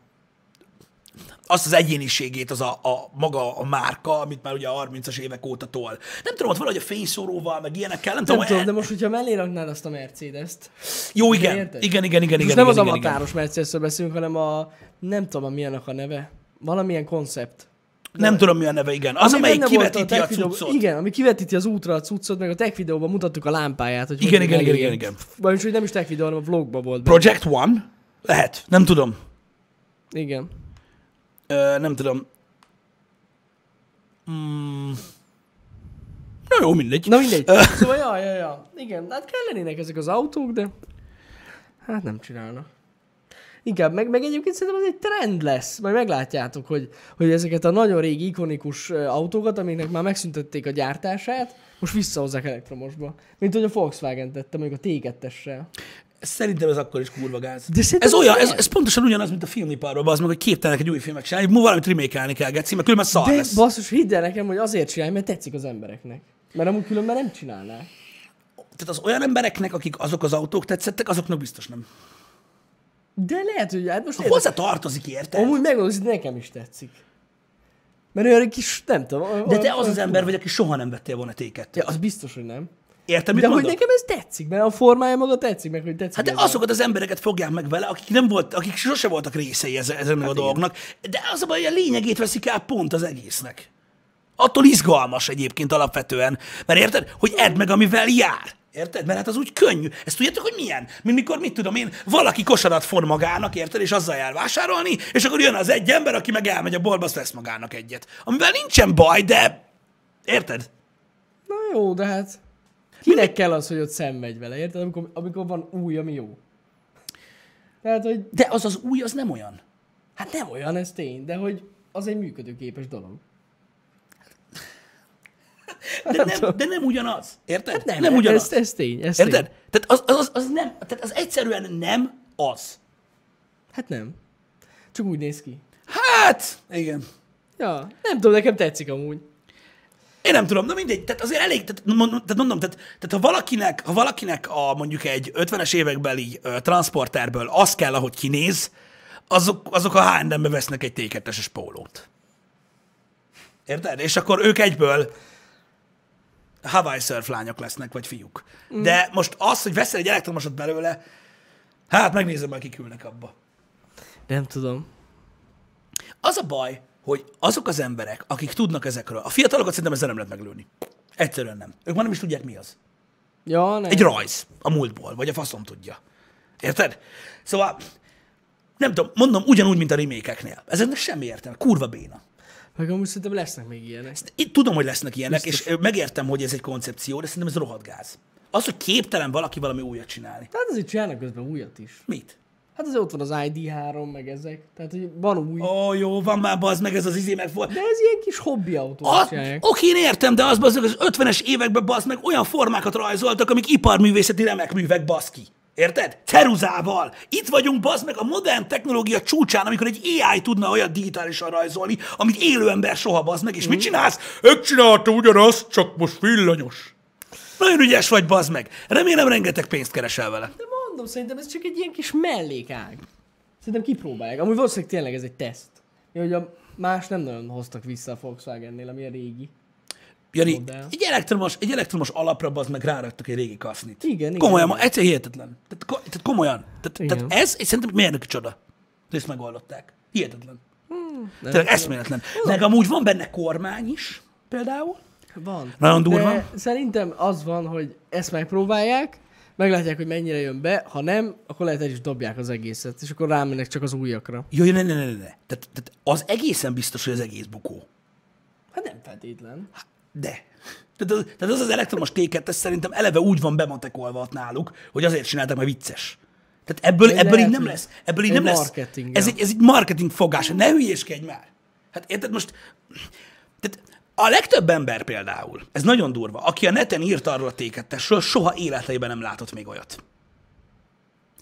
Speaker 1: azt az egyéniségét, az a, a maga a márka, amit már ugye a 30-as évek óta tol. Nem tudom, ott valahogy a fényszóróval, meg ilyenekkel, nem,
Speaker 2: Nem
Speaker 1: tudom,
Speaker 2: tudom,
Speaker 1: e-
Speaker 2: de most, hogyha mellé raknád azt a Mercedes-t,
Speaker 1: jó, igen, igen,
Speaker 2: érted?
Speaker 1: igen, igen, igen.
Speaker 2: most
Speaker 1: igen,
Speaker 2: nem az
Speaker 1: igen, igen.
Speaker 2: avatáros Mercedesről beszélünk, hanem a, nem tudom, a milyenek a neve, valamilyen koncept.
Speaker 1: Nem tudom, mi a neve, igen. Az,
Speaker 2: Ami
Speaker 1: amelyik
Speaker 2: benne volt
Speaker 1: kivetíti a
Speaker 2: tech videóban-
Speaker 1: cuccot.
Speaker 2: Igen, ami kivetíti az útra a cuccot, meg a tech videóban mutattuk a lámpáját. Hogy
Speaker 1: Igen,
Speaker 2: hogy
Speaker 1: igen, igen,
Speaker 2: elég-
Speaker 1: igen, igen.
Speaker 2: Vagyis, hogy nem is tech videó, hanem a vlogban volt. benne.
Speaker 1: Project One? Lehet. Nem tudom.
Speaker 2: Igen.
Speaker 1: Ö, nem tudom. Mm. Na jó, mindegy.
Speaker 2: Na mindegy.
Speaker 1: Ö,
Speaker 2: Szóval, ja, ja, ja. Igen, hát kellenének ezek az autók, de hát nem csinálnak. Inkább, meg, meg egyébként szerintem ez egy trend lesz. Majd meglátjátok, hogy, hogy ezeket a nagyon régi, ikonikus ö, autókat, amiknek már megszüntették a gyártását, most visszahozzák elektromosba. Mint hogy a Volkswagen tette, mondjuk a T2-essel.
Speaker 1: Szerintem ez akkor is kurva gáz.
Speaker 2: De szerintem
Speaker 1: ez, olyan,
Speaker 2: ez
Speaker 1: ez,
Speaker 2: olyan.
Speaker 1: ez, pontosan ugyanaz, mint a filmiparról, az meg, hogy képtelenek egy új filmet csinálni, ma valamit remake kell, geci, mert különben szar
Speaker 2: De
Speaker 1: lesz.
Speaker 2: basszus, hidd el nekem, hogy azért csinálj, mert tetszik az embereknek. Mert amúgy különben nem csinálnák.
Speaker 1: Tehát az olyan embereknek, akik azok az autók tetszettek, azoknak biztos nem.
Speaker 2: De lehet, hogy hát most... érted,
Speaker 1: Hozzá tartozik, érted?
Speaker 2: Amúgy megmondom, hogy nekem is tetszik. Mert olyan kis, nem tudom. olyan-
Speaker 1: De te
Speaker 2: olyan-
Speaker 1: az az
Speaker 2: olyan-
Speaker 1: ember vagy, aki soha nem vettél volna téket.
Speaker 2: Ja, az biztos, hogy nem.
Speaker 1: Érted, mit
Speaker 2: De hogy
Speaker 1: mondok?
Speaker 2: nekem ez tetszik, mert a formája maga tetszik, meg hogy tetszik.
Speaker 1: Hát de
Speaker 2: ez a-
Speaker 1: azokat az embereket fogják meg vele, akik, nem volt, akik sose voltak részei ezen, ezen hát a dolgnak, de az a baj, hogy a lényegét veszik el pont az egésznek. Attól izgalmas egyébként alapvetően, mert érted, hogy edd meg, amivel jár. Érted? Mert hát az úgy könnyű. Ezt tudjátok, hogy milyen? Mint mikor, mit tudom én, valaki kosarat for magának, érted, és azzal jár vásárolni, és akkor jön az egy ember, aki meg elmegy a boltba, azt vesz magának egyet. Amivel nincsen baj, de... Érted?
Speaker 2: Na jó, de hát... Kinek kell az, hogy ott szenvedj vele, érted? Amikor, amikor van új, ami jó. Tehát, hogy
Speaker 1: De az az új, az nem olyan.
Speaker 2: hát nem olyan ez tény, de hogy az egy működőképes dolog.
Speaker 1: De nem, de nem ugyanaz. Érted?
Speaker 2: Hát
Speaker 1: Hát nem ugyanaz.
Speaker 2: Ez, ez tény, ez
Speaker 1: Érted?
Speaker 2: Tény.
Speaker 1: Tehát az, az, az, az nem, tehát az egyszerűen nem az.
Speaker 2: Hát nem. Csak úgy néz ki.
Speaker 1: Hát, igen.
Speaker 2: Ja, nem tudom, nekem tetszik amúgy.
Speaker 1: Én nem tudom, na mindegy, tehát azért elég, tehát mon- tehát mondom, tehát, tehát ha valakinek, ha valakinek a mondjuk egy 50-es évekbeli ö, transporterből az kell, ahogy kinéz, azok, azok a H&M-be vesznek egy T2-es pólót. Érted? És akkor ők egyből Hawaii surf lányok lesznek, vagy fiúk. Mm. De most az, hogy veszel egy elektromosat belőle, hát megnézem, már kikülnek abba.
Speaker 2: Nem tudom.
Speaker 1: Az a baj, hogy azok az emberek, akik tudnak ezekről, a fiatalokat szerintem ezzel nem lehet meglőni. Egyszerűen nem. Ők már nem is tudják, mi az.
Speaker 2: Ja, nem.
Speaker 1: Egy rajz a múltból, vagy a faszom tudja. Érted? Szóval, nem tudom, mondom, ugyanúgy, mint a remékeknél. Ezeknek semmi értelme, kurva béna.
Speaker 2: Meg amúgy szerintem lesznek még ilyenek.
Speaker 1: Itt tudom, hogy lesznek ilyenek, Biztos. és ö, megértem, hogy ez egy koncepció, de szerintem ez rohadt gáz. Az, hogy képtelen valaki valami újat csinálni.
Speaker 2: Tehát azért csinálnak közben újat is.
Speaker 1: Mit?
Speaker 2: Hát azért ott van az ID3, meg ezek. Tehát, hogy van új.
Speaker 1: Ó, oh, jó, van már az meg ez az izé, meg volt.
Speaker 2: De ez ilyen kis hobbi autó.
Speaker 1: A, oké, én értem, de az bazdmeg az 50-es években bazd meg olyan formákat rajzoltak, amik iparművészeti remek művek bazd ki. Érted? Ceruzával. Itt vagyunk bazd meg a modern technológia csúcsán, amikor egy AI tudna olyat digitálisan rajzolni, amit élő ember soha bazd meg. És mit csinálsz? Ők csinálta ugyanazt, csak most villanyos. Nagyon ügyes vagy, bazd meg. Remélem rengeteg pénzt keresel vele.
Speaker 2: De mondom, szerintem ez csak egy ilyen kis mellékág. Szerintem kipróbálják. Amúgy valószínűleg tényleg ez egy teszt. Jó, hogy a más nem nagyon hoztak vissza a Volkswagennél, ami a régi.
Speaker 1: Jani,
Speaker 2: Modell.
Speaker 1: egy elektromos, egy elektromos alapra bazd meg ráraktak egy régi kasznit.
Speaker 2: Igen, igen,
Speaker 1: Komolyan,
Speaker 2: igen.
Speaker 1: ma egyszer hihetetlen. Tehát, ko- tehát komolyan. Tehát,
Speaker 2: Igen.
Speaker 1: tehát ez egy szerintem mérnöki csoda. De ezt megoldották. Hihetetlen. Hmm, Tényleg eszméletlen. Meg amúgy van benne kormány is, például.
Speaker 2: Van.
Speaker 1: Nagyon durva.
Speaker 2: De szerintem az van, hogy ezt megpróbálják, meglátják, hogy mennyire jön be, ha nem, akkor lehet el is dobják az egészet, és akkor rámennek csak az újakra.
Speaker 1: Jó, jó, ne, ne, ne, ne. ne. Tehát, tehát az egészen biztos, hogy az egész bukó.
Speaker 2: Hát nem feltétlen.
Speaker 1: De. Tehát az, tehát az az elektromos téket, ez szerintem eleve úgy van bematekolva ott náluk, hogy azért csinálták, mert vicces. Tehát ebből,
Speaker 2: Egy
Speaker 1: ebből így
Speaker 2: lehet,
Speaker 1: nem
Speaker 2: hogy
Speaker 1: lesz. Ebből így
Speaker 2: egy
Speaker 1: nem lesz.
Speaker 2: marketing,
Speaker 1: Ez
Speaker 2: ja.
Speaker 1: egy, ez egy marketing fogás. Ne hülyéskedj már. Hát érted most... Tehát a legtöbb ember például, ez nagyon durva, aki a neten írt arról a tékettesről, soha életében nem látott még olyat.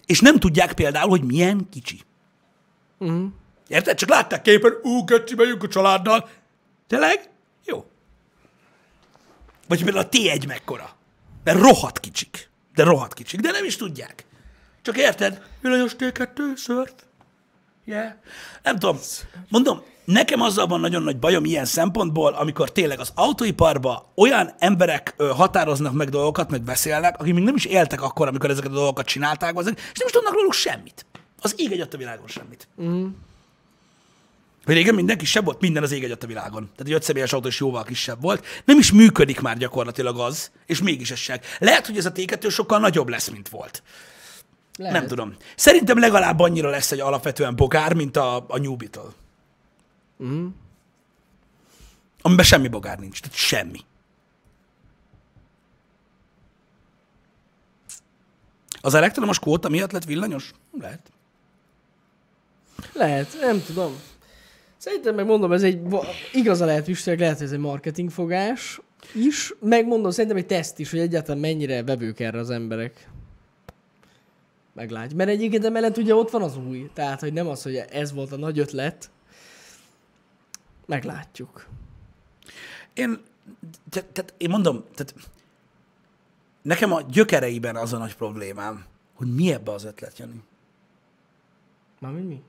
Speaker 1: És nem tudják például, hogy milyen kicsi. Uh-huh.
Speaker 2: Mhm.
Speaker 1: Érted? Csak látták képen, ú, kecsi, megyünk a családdal. Tényleg? Jó. Vagy például a T1 mekkora. Mert rohadt kicsik. De rohadt kicsik. De nem is tudják. Csak érted? Villanyos T2, szört. Yeah. Nem tudom. Mondom, nekem azzal van nagyon nagy bajom ilyen szempontból, amikor tényleg az autóiparba olyan emberek ö, határoznak meg dolgokat, meg beszélnek, akik még nem is éltek akkor, amikor ezeket a dolgokat csinálták, azok, és nem is tudnak róluk semmit. Az ég egy a világon semmit. Mm. Régen mindenki se volt minden az ég egy a világon. Tehát egy ötszemélyes autó is jóval kisebb volt. Nem is működik már gyakorlatilag az, és mégis ez se. Lehet, hogy ez a T2 sokkal nagyobb lesz, mint volt.
Speaker 2: Lehet.
Speaker 1: Nem tudom. Szerintem legalább annyira lesz egy alapvetően bogár, mint a, a New Beetle. Mm. Amiben semmi bogár nincs. Tehát semmi. Az elektromos kóta miatt lett villanyos? Lehet.
Speaker 2: Lehet, nem tudom. Szerintem megmondom, ez egy va- igaza lehet Pistinek, lehet, hogy ez egy marketingfogás is. Megmondom, szerintem egy teszt is, hogy egyáltalán mennyire vevők erre az emberek. Meglátjuk. Mert egyébként emellett ugye ott van az új. Tehát, hogy nem az, hogy ez volt a nagy ötlet. Meglátjuk.
Speaker 1: Én, te, te, én mondom, tehát nekem a gyökereiben az a nagy problémám, hogy mi ebbe az ötlet, Jani.
Speaker 2: Mármint mi?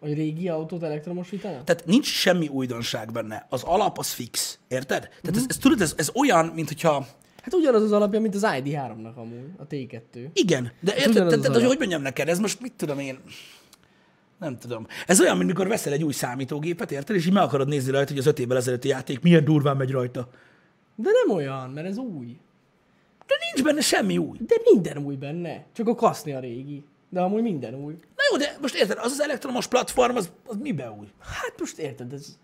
Speaker 2: Hogy régi autót elektromosítanak?
Speaker 1: Tehát nincs semmi újdonság benne. Az alap az fix. Érted? Tehát
Speaker 2: Mhm.
Speaker 1: ez, ez, tudod, ez, ez olyan, mint hogyha
Speaker 2: Hát ugyanaz az alapja, mint az ID3-nak amúgy, a T2.
Speaker 1: Igen, de érted,
Speaker 2: ugyanaz
Speaker 1: tehát,
Speaker 2: az
Speaker 1: tehát, hogy
Speaker 2: alap.
Speaker 1: hogy mondjam neked, ez most mit tudom én, nem tudom. Ez olyan, mint mikor veszel egy új számítógépet, érted, és így meg akarod nézni rajta, hogy az öt évvel ezelőtti játék milyen durván megy rajta.
Speaker 2: De nem olyan, mert ez új.
Speaker 1: De nincs benne semmi új.
Speaker 2: De minden új benne. Csak a kaszni a régi. De amúgy minden új.
Speaker 1: Na jó, de most érted, az az elektromos platform, az, az mibe új?
Speaker 2: Hát most érted, ez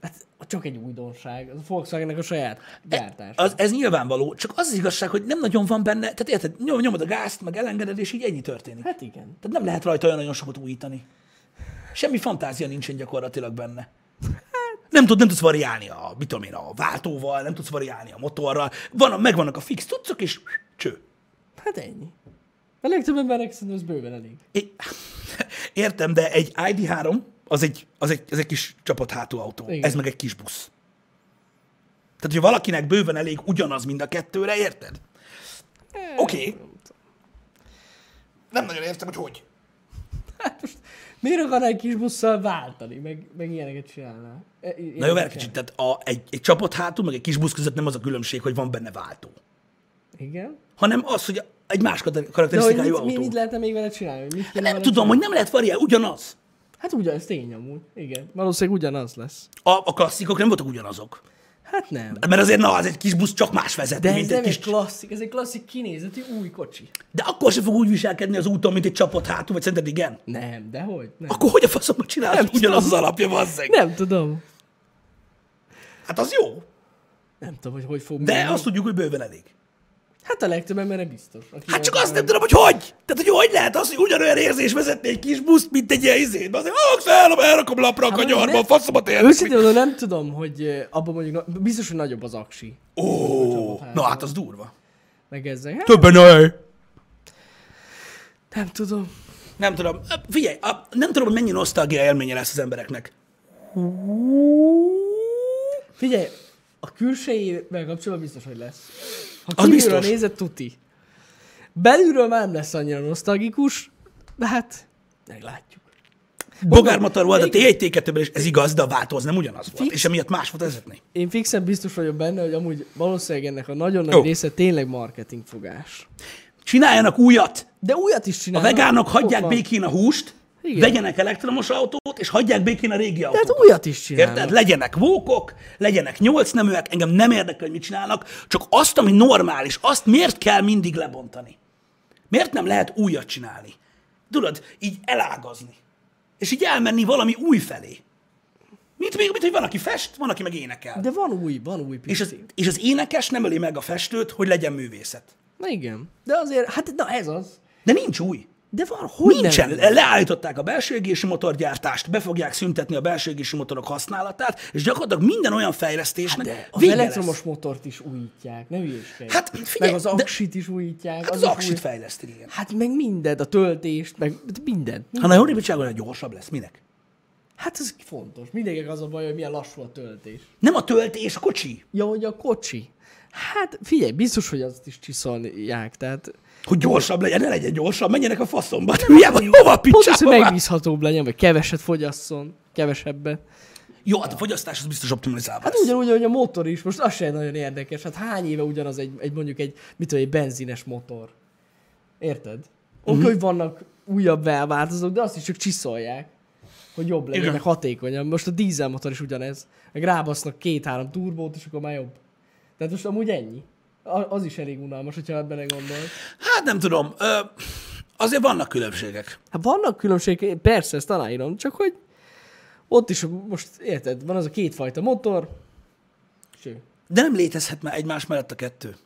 Speaker 2: hát csak egy újdonság. Az a Volkswagennek a saját gyártás.
Speaker 1: Az, ez nyilvánvaló, csak az az igazság, hogy nem nagyon van benne, tehát érted, nyom, nyomod a gázt, meg elengeded, és így ennyi történik.
Speaker 2: Hát igen.
Speaker 1: Tehát nem lehet rajta olyan nagyon sokat újítani. Semmi fantázia nincsen gyakorlatilag benne. Nem, tud, nem tudsz variálni a, mit tudom én, a váltóval, nem tudsz variálni a motorral. Van, megvannak a fix tudszok, és cső.
Speaker 2: Hát ennyi. A legtöbb embernek szerintem ez bőven elég.
Speaker 1: É- Értem, de egy ID3 az egy, az egy, az egy kis csapat hátulautó.
Speaker 2: Igen.
Speaker 1: Igen. Ez meg egy kis busz. Tehát, hogyha valakinek bőven elég ugyanaz mind a kettőre, érted? Oké. Nem nagyon értem, hogy hogy.
Speaker 2: Hát most miért akarná egy kis busszal váltani, meg, meg ilyeneket csinálná? E- i-
Speaker 1: Na jó, várj
Speaker 2: ilyeneket
Speaker 1: kicsit, tehát a, egy, egy csapat hátul, meg egy kis busz között nem az a különbség, hogy van benne váltó.
Speaker 2: csinál. Igen.
Speaker 1: Hanem az, hogy egy más kater-
Speaker 2: De hogy
Speaker 1: karakterisztikájú
Speaker 2: mit,
Speaker 1: autó.
Speaker 2: mi, mit lehetne még vele csinálni? Mit kéne
Speaker 1: nem
Speaker 2: vele
Speaker 1: tudom, hogy nem lehet variálni, ugyanaz.
Speaker 2: csinálni? Hát ugyanaz tény amúgy. Igen. Valószínűleg ugyanaz lesz.
Speaker 1: A, a klasszikok nem voltak ugyanazok.
Speaker 2: Hát nem.
Speaker 1: Mert azért, na, az egy kis busz csak más vezet,
Speaker 2: De ez
Speaker 1: mint
Speaker 2: nem
Speaker 1: egy
Speaker 2: egy
Speaker 1: kis
Speaker 2: klasszik, ez egy klasszik kinézetű új kocsi.
Speaker 1: De akkor se fog úgy viselkedni az úton, mint egy csapat hátul, vagy szerinted igen?
Speaker 2: Nem, de hogy? Nem.
Speaker 1: Akkor hogy a faszomba csinálod
Speaker 2: Nem
Speaker 1: ugyanaz az alapja, bazzeg?
Speaker 2: nem tudom.
Speaker 1: Hát az jó,
Speaker 2: Nem tudom, hogy hogy fog
Speaker 1: de
Speaker 2: menni.
Speaker 1: azt tudjuk, hogy bőven elég.
Speaker 2: Hát a legtöbb emberre biztos. aki
Speaker 1: Hát csak
Speaker 2: olyan-
Speaker 1: azt nem tudom, hogy hogy. Tehát, hogy hogy lehet az, hogy ugyanolyan érzés vezetni egy kis buszt, mint egy ilyen izét. Azért, ah, fel, elrakom lapra a
Speaker 2: Hát,
Speaker 1: kanyarba,
Speaker 2: nem-
Speaker 1: faszomba térnek.
Speaker 2: Őszintén mondom, nem tudom, hogy eh, abban mondjuk, na- biztos, hogy nagyobb az aksi.
Speaker 1: Ó, na hát az durva.
Speaker 2: Meg ezzel. Hát,
Speaker 1: Többen a
Speaker 2: nem tudom.
Speaker 1: Nem tudom. Figyelj, a- nem tudom, hogy mennyi nosztalgia élménye lesz az embereknek.
Speaker 2: Figyelj, a külsejével kapcsolatban biztos, hogy lesz. Ha
Speaker 1: Az
Speaker 2: kívülről
Speaker 1: biztos.
Speaker 2: nézed, tuti. Belülről már nem lesz annyira nosztalgikus, de hát meglátjuk.
Speaker 1: Bogármatar volt a T1-T2-ben, és ez igaz, de a váltó az nem ugyanaz volt. És emiatt más volt vezetni.
Speaker 2: Én fixen biztos vagyok benne, hogy amúgy valószínűleg ennek a nagyon nagy
Speaker 1: Jó.
Speaker 2: része tényleg marketing fogás.
Speaker 1: Csináljanak újat!
Speaker 2: De újat is
Speaker 1: A
Speaker 2: csinálnak.
Speaker 1: vegánok
Speaker 2: Ott
Speaker 1: hagyják
Speaker 2: van.
Speaker 1: békén a húst,
Speaker 2: Igen.
Speaker 1: Igen. vegyenek elektromos autót, és hagyják békén a régi
Speaker 2: De hát
Speaker 1: autót.
Speaker 2: újat is csinálnak.
Speaker 1: Érted? Legyenek vókok, legyenek nyolc neműek, engem nem érdekel, hogy mit csinálnak, csak azt, ami normális, azt miért kell mindig lebontani? Miért nem lehet újat csinálni? Tudod, így elágazni. És így elmenni valami új felé. Mint még, mint hogy van, aki fest, van, aki meg énekel.
Speaker 2: De van új, van új
Speaker 1: És
Speaker 2: pici.
Speaker 1: az, és az énekes nem öli meg a festőt, hogy legyen művészet.
Speaker 2: Na igen. De azért, hát na ez az.
Speaker 1: De nincs új.
Speaker 2: De van, hogy
Speaker 1: Nincsen.
Speaker 2: nem?
Speaker 1: Leállították a belső égési motorgyártást, be fogják szüntetni a belső égési motorok használatát, és gyakorlatilag minden olyan fejlesztésnek
Speaker 2: De
Speaker 1: hát
Speaker 2: az
Speaker 1: vége
Speaker 2: elektromos
Speaker 1: lesz.
Speaker 2: motort is újítják, ne hülyéskedj.
Speaker 1: Hát figyelj,
Speaker 2: meg az
Speaker 1: de-
Speaker 2: aksit is újítják.
Speaker 1: Hát az
Speaker 2: is
Speaker 1: aksit
Speaker 2: új-
Speaker 1: fejleszteni, igen.
Speaker 2: Hát meg mindent, a töltést, meg minden.
Speaker 1: Ha nagyon bizottság olyan gyorsabb lesz, minek?
Speaker 2: Hát ez fontos. Mindenkinek az a baj, hogy milyen lassú a töltés.
Speaker 1: Nem a töltés, a kocsi.
Speaker 2: Ja, hogy a kocsi. Hát figyelj, biztos, hogy azt is csiszolják, tehát
Speaker 1: Hogy gyorsabb legyen, ne legyen gyorsabb, menjenek a faszomba. Hülye vagy, hova a
Speaker 2: pont az, hogy
Speaker 1: picsába?
Speaker 2: megbízhatóbb legyen, vagy keveset fogyasszon, kevesebbet.
Speaker 1: Jó, hát a fogyasztás az biztos optimalizálva
Speaker 2: Hát
Speaker 1: lesz.
Speaker 2: ugyanúgy, hogy a motor is, most az sem nagyon érdekes. Hát hány éve ugyanaz egy, egy mondjuk egy, mit tudom, egy benzines motor. Érted? Oké, uh-huh. hogy vannak újabb változók, de azt is csak csiszolják, hogy jobb legyen,
Speaker 1: Igen.
Speaker 2: meg hatékonyabb. Most a dízelmotor is ugyanez. Meg rábasznak két-három turbót, és akkor már jobb. Tehát most amúgy ennyi. A- Az is elég unalmas, hogyha ebben gondolsz.
Speaker 1: Hát nem tudom. Ö, azért vannak különbségek.
Speaker 2: Hát vannak különbségek, persze, ezt aláírom, csak hogy ott is most, érted, van az a kétfajta motor, Ső.
Speaker 1: De nem létezhet már egymás mellett a kettő.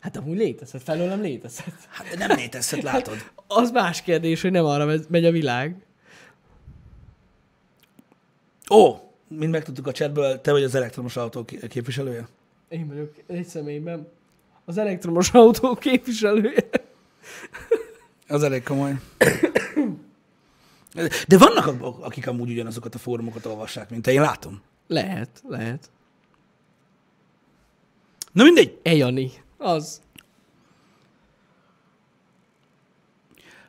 Speaker 2: Hát amúgy létezhet, felőlem létezhet.
Speaker 1: Hát de nem létezhet, látod.
Speaker 2: Az más kérdés, hogy nem arra megy- megy a világ.
Speaker 1: Ó, mind megtudtuk a chatből, te vagy az elektromos autó ki- képviselője.
Speaker 2: Én vagyok egy személyben az elektromos autó képviselője.
Speaker 1: Az elég komoly. De vannak, ak- akik amúgy ugyanazokat a fórumokat olvassák, mint te, én látom.
Speaker 2: Lehet, lehet.
Speaker 1: Na mindegy.
Speaker 2: Ejani. Az.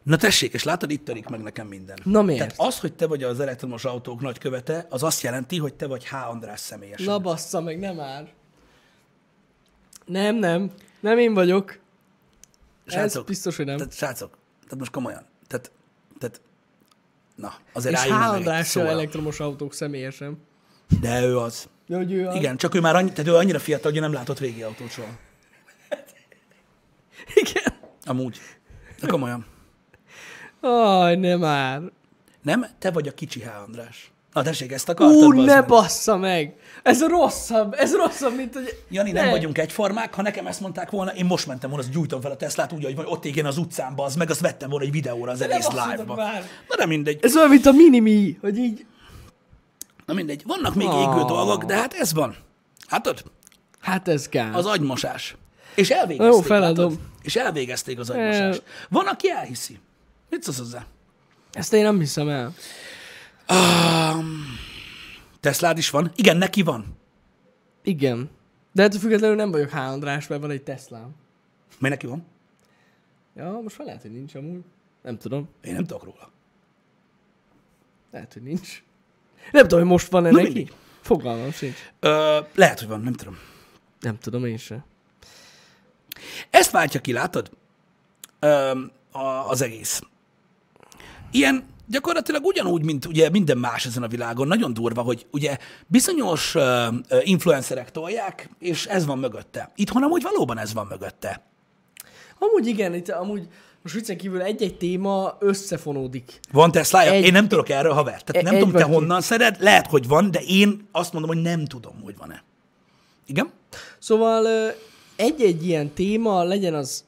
Speaker 1: Na tessék, és látod, itt törik meg nekem minden.
Speaker 2: Na miért?
Speaker 1: Tehát az, hogy te vagy az elektromos autók nagykövete, az azt jelenti, hogy te vagy H. András személyesen.
Speaker 2: Na
Speaker 1: Na.
Speaker 2: bassza meg, nem már. Nem, nem. Nem én vagyok. Ez
Speaker 1: Srácok,
Speaker 2: biztos, hogy nem.
Speaker 1: Tehát, srácok, tehát most komolyan. Tehát, tehát na, azért
Speaker 2: És H.
Speaker 1: álljunk meg egy
Speaker 2: Andrással
Speaker 1: szóra.
Speaker 2: elektromos autók személyesen.
Speaker 1: De ő az.
Speaker 2: De hogy ő a...
Speaker 1: Igen, csak ő már annyi, tehát ő annyira fiatal, hogy ő nem látott régi autót soha.
Speaker 2: Igen.
Speaker 1: Amúgy. De komolyan.
Speaker 2: Aj, nem már.
Speaker 1: Nem? Te vagy a kicsi H. András. Na tessék, ezt akartad?
Speaker 2: Ú,
Speaker 1: bazd
Speaker 2: ne
Speaker 1: meg.
Speaker 2: bassza meg! Ez rosszabb, ez rosszabb, mint hogy...
Speaker 1: Jani, nem
Speaker 2: Ne.
Speaker 1: vagyunk egyformák. Ha nekem ezt mondták volna, én most mentem volna, azt gyújtom fel a Teslát úgy, hogy ott igen az utcán, az meg azt vettem volna egy videóra az egész
Speaker 2: basszatok
Speaker 1: live-ba.
Speaker 2: már.
Speaker 1: Na de mindegy.
Speaker 2: Ez olyan, mint a minimi, hogy így...
Speaker 1: Na mindegy. Vannak még
Speaker 2: Ah.
Speaker 1: égő dolgok, de hát ez van. Látod?
Speaker 2: Hát ez kár.
Speaker 1: Az agymosás. És elvégezték.
Speaker 2: Jó, feladom.
Speaker 1: látod? És elvégezték az agymosást. Van, aki elhiszi. Mit szólsz hozzá?
Speaker 2: Ezt én nem hiszem el.
Speaker 1: Um. Teslád is van? Igen, neki van.
Speaker 2: Igen. De ettől függetlenül nem vagyok H. András, mert van egy Teslám.
Speaker 1: Mert neki van?
Speaker 2: Ja, most már lehet, hogy nincs amúgy. Nem tudom.
Speaker 1: Én nem tudok róla.
Speaker 2: Lehet, hogy nincs. Nem tudom, hogy most van-e
Speaker 1: Na
Speaker 2: neki.
Speaker 1: mindegy.
Speaker 2: Fogalmam sincs.
Speaker 1: Ö, lehet, hogy van, nem tudom.
Speaker 2: Nem tudom én se.
Speaker 1: Ezt váltja ki, látod? Öm, a, az egész. Ilyen gyakorlatilag ugyanúgy, mint ugye minden más ezen a világon, nagyon durva, hogy ugye bizonyos ö, ö, influencerek tolják, és ez van mögötte. Itthon amúgy valóban ez van mögötte.
Speaker 2: Amúgy igen, itt amúgy most viccen kívül egy-egy téma összefonódik.
Speaker 1: Van Teslája?
Speaker 2: Egy-
Speaker 1: Én nem tudok erről, haver. Tehát
Speaker 2: Egy-
Speaker 1: nem tudom,
Speaker 2: egy
Speaker 1: te
Speaker 2: vagy két.
Speaker 1: honnan szeded, lehet, hogy van, de én azt mondom, hogy nem tudom, hogy van-e. Igen?
Speaker 2: Szóval ö, egy-egy ilyen téma, legyen az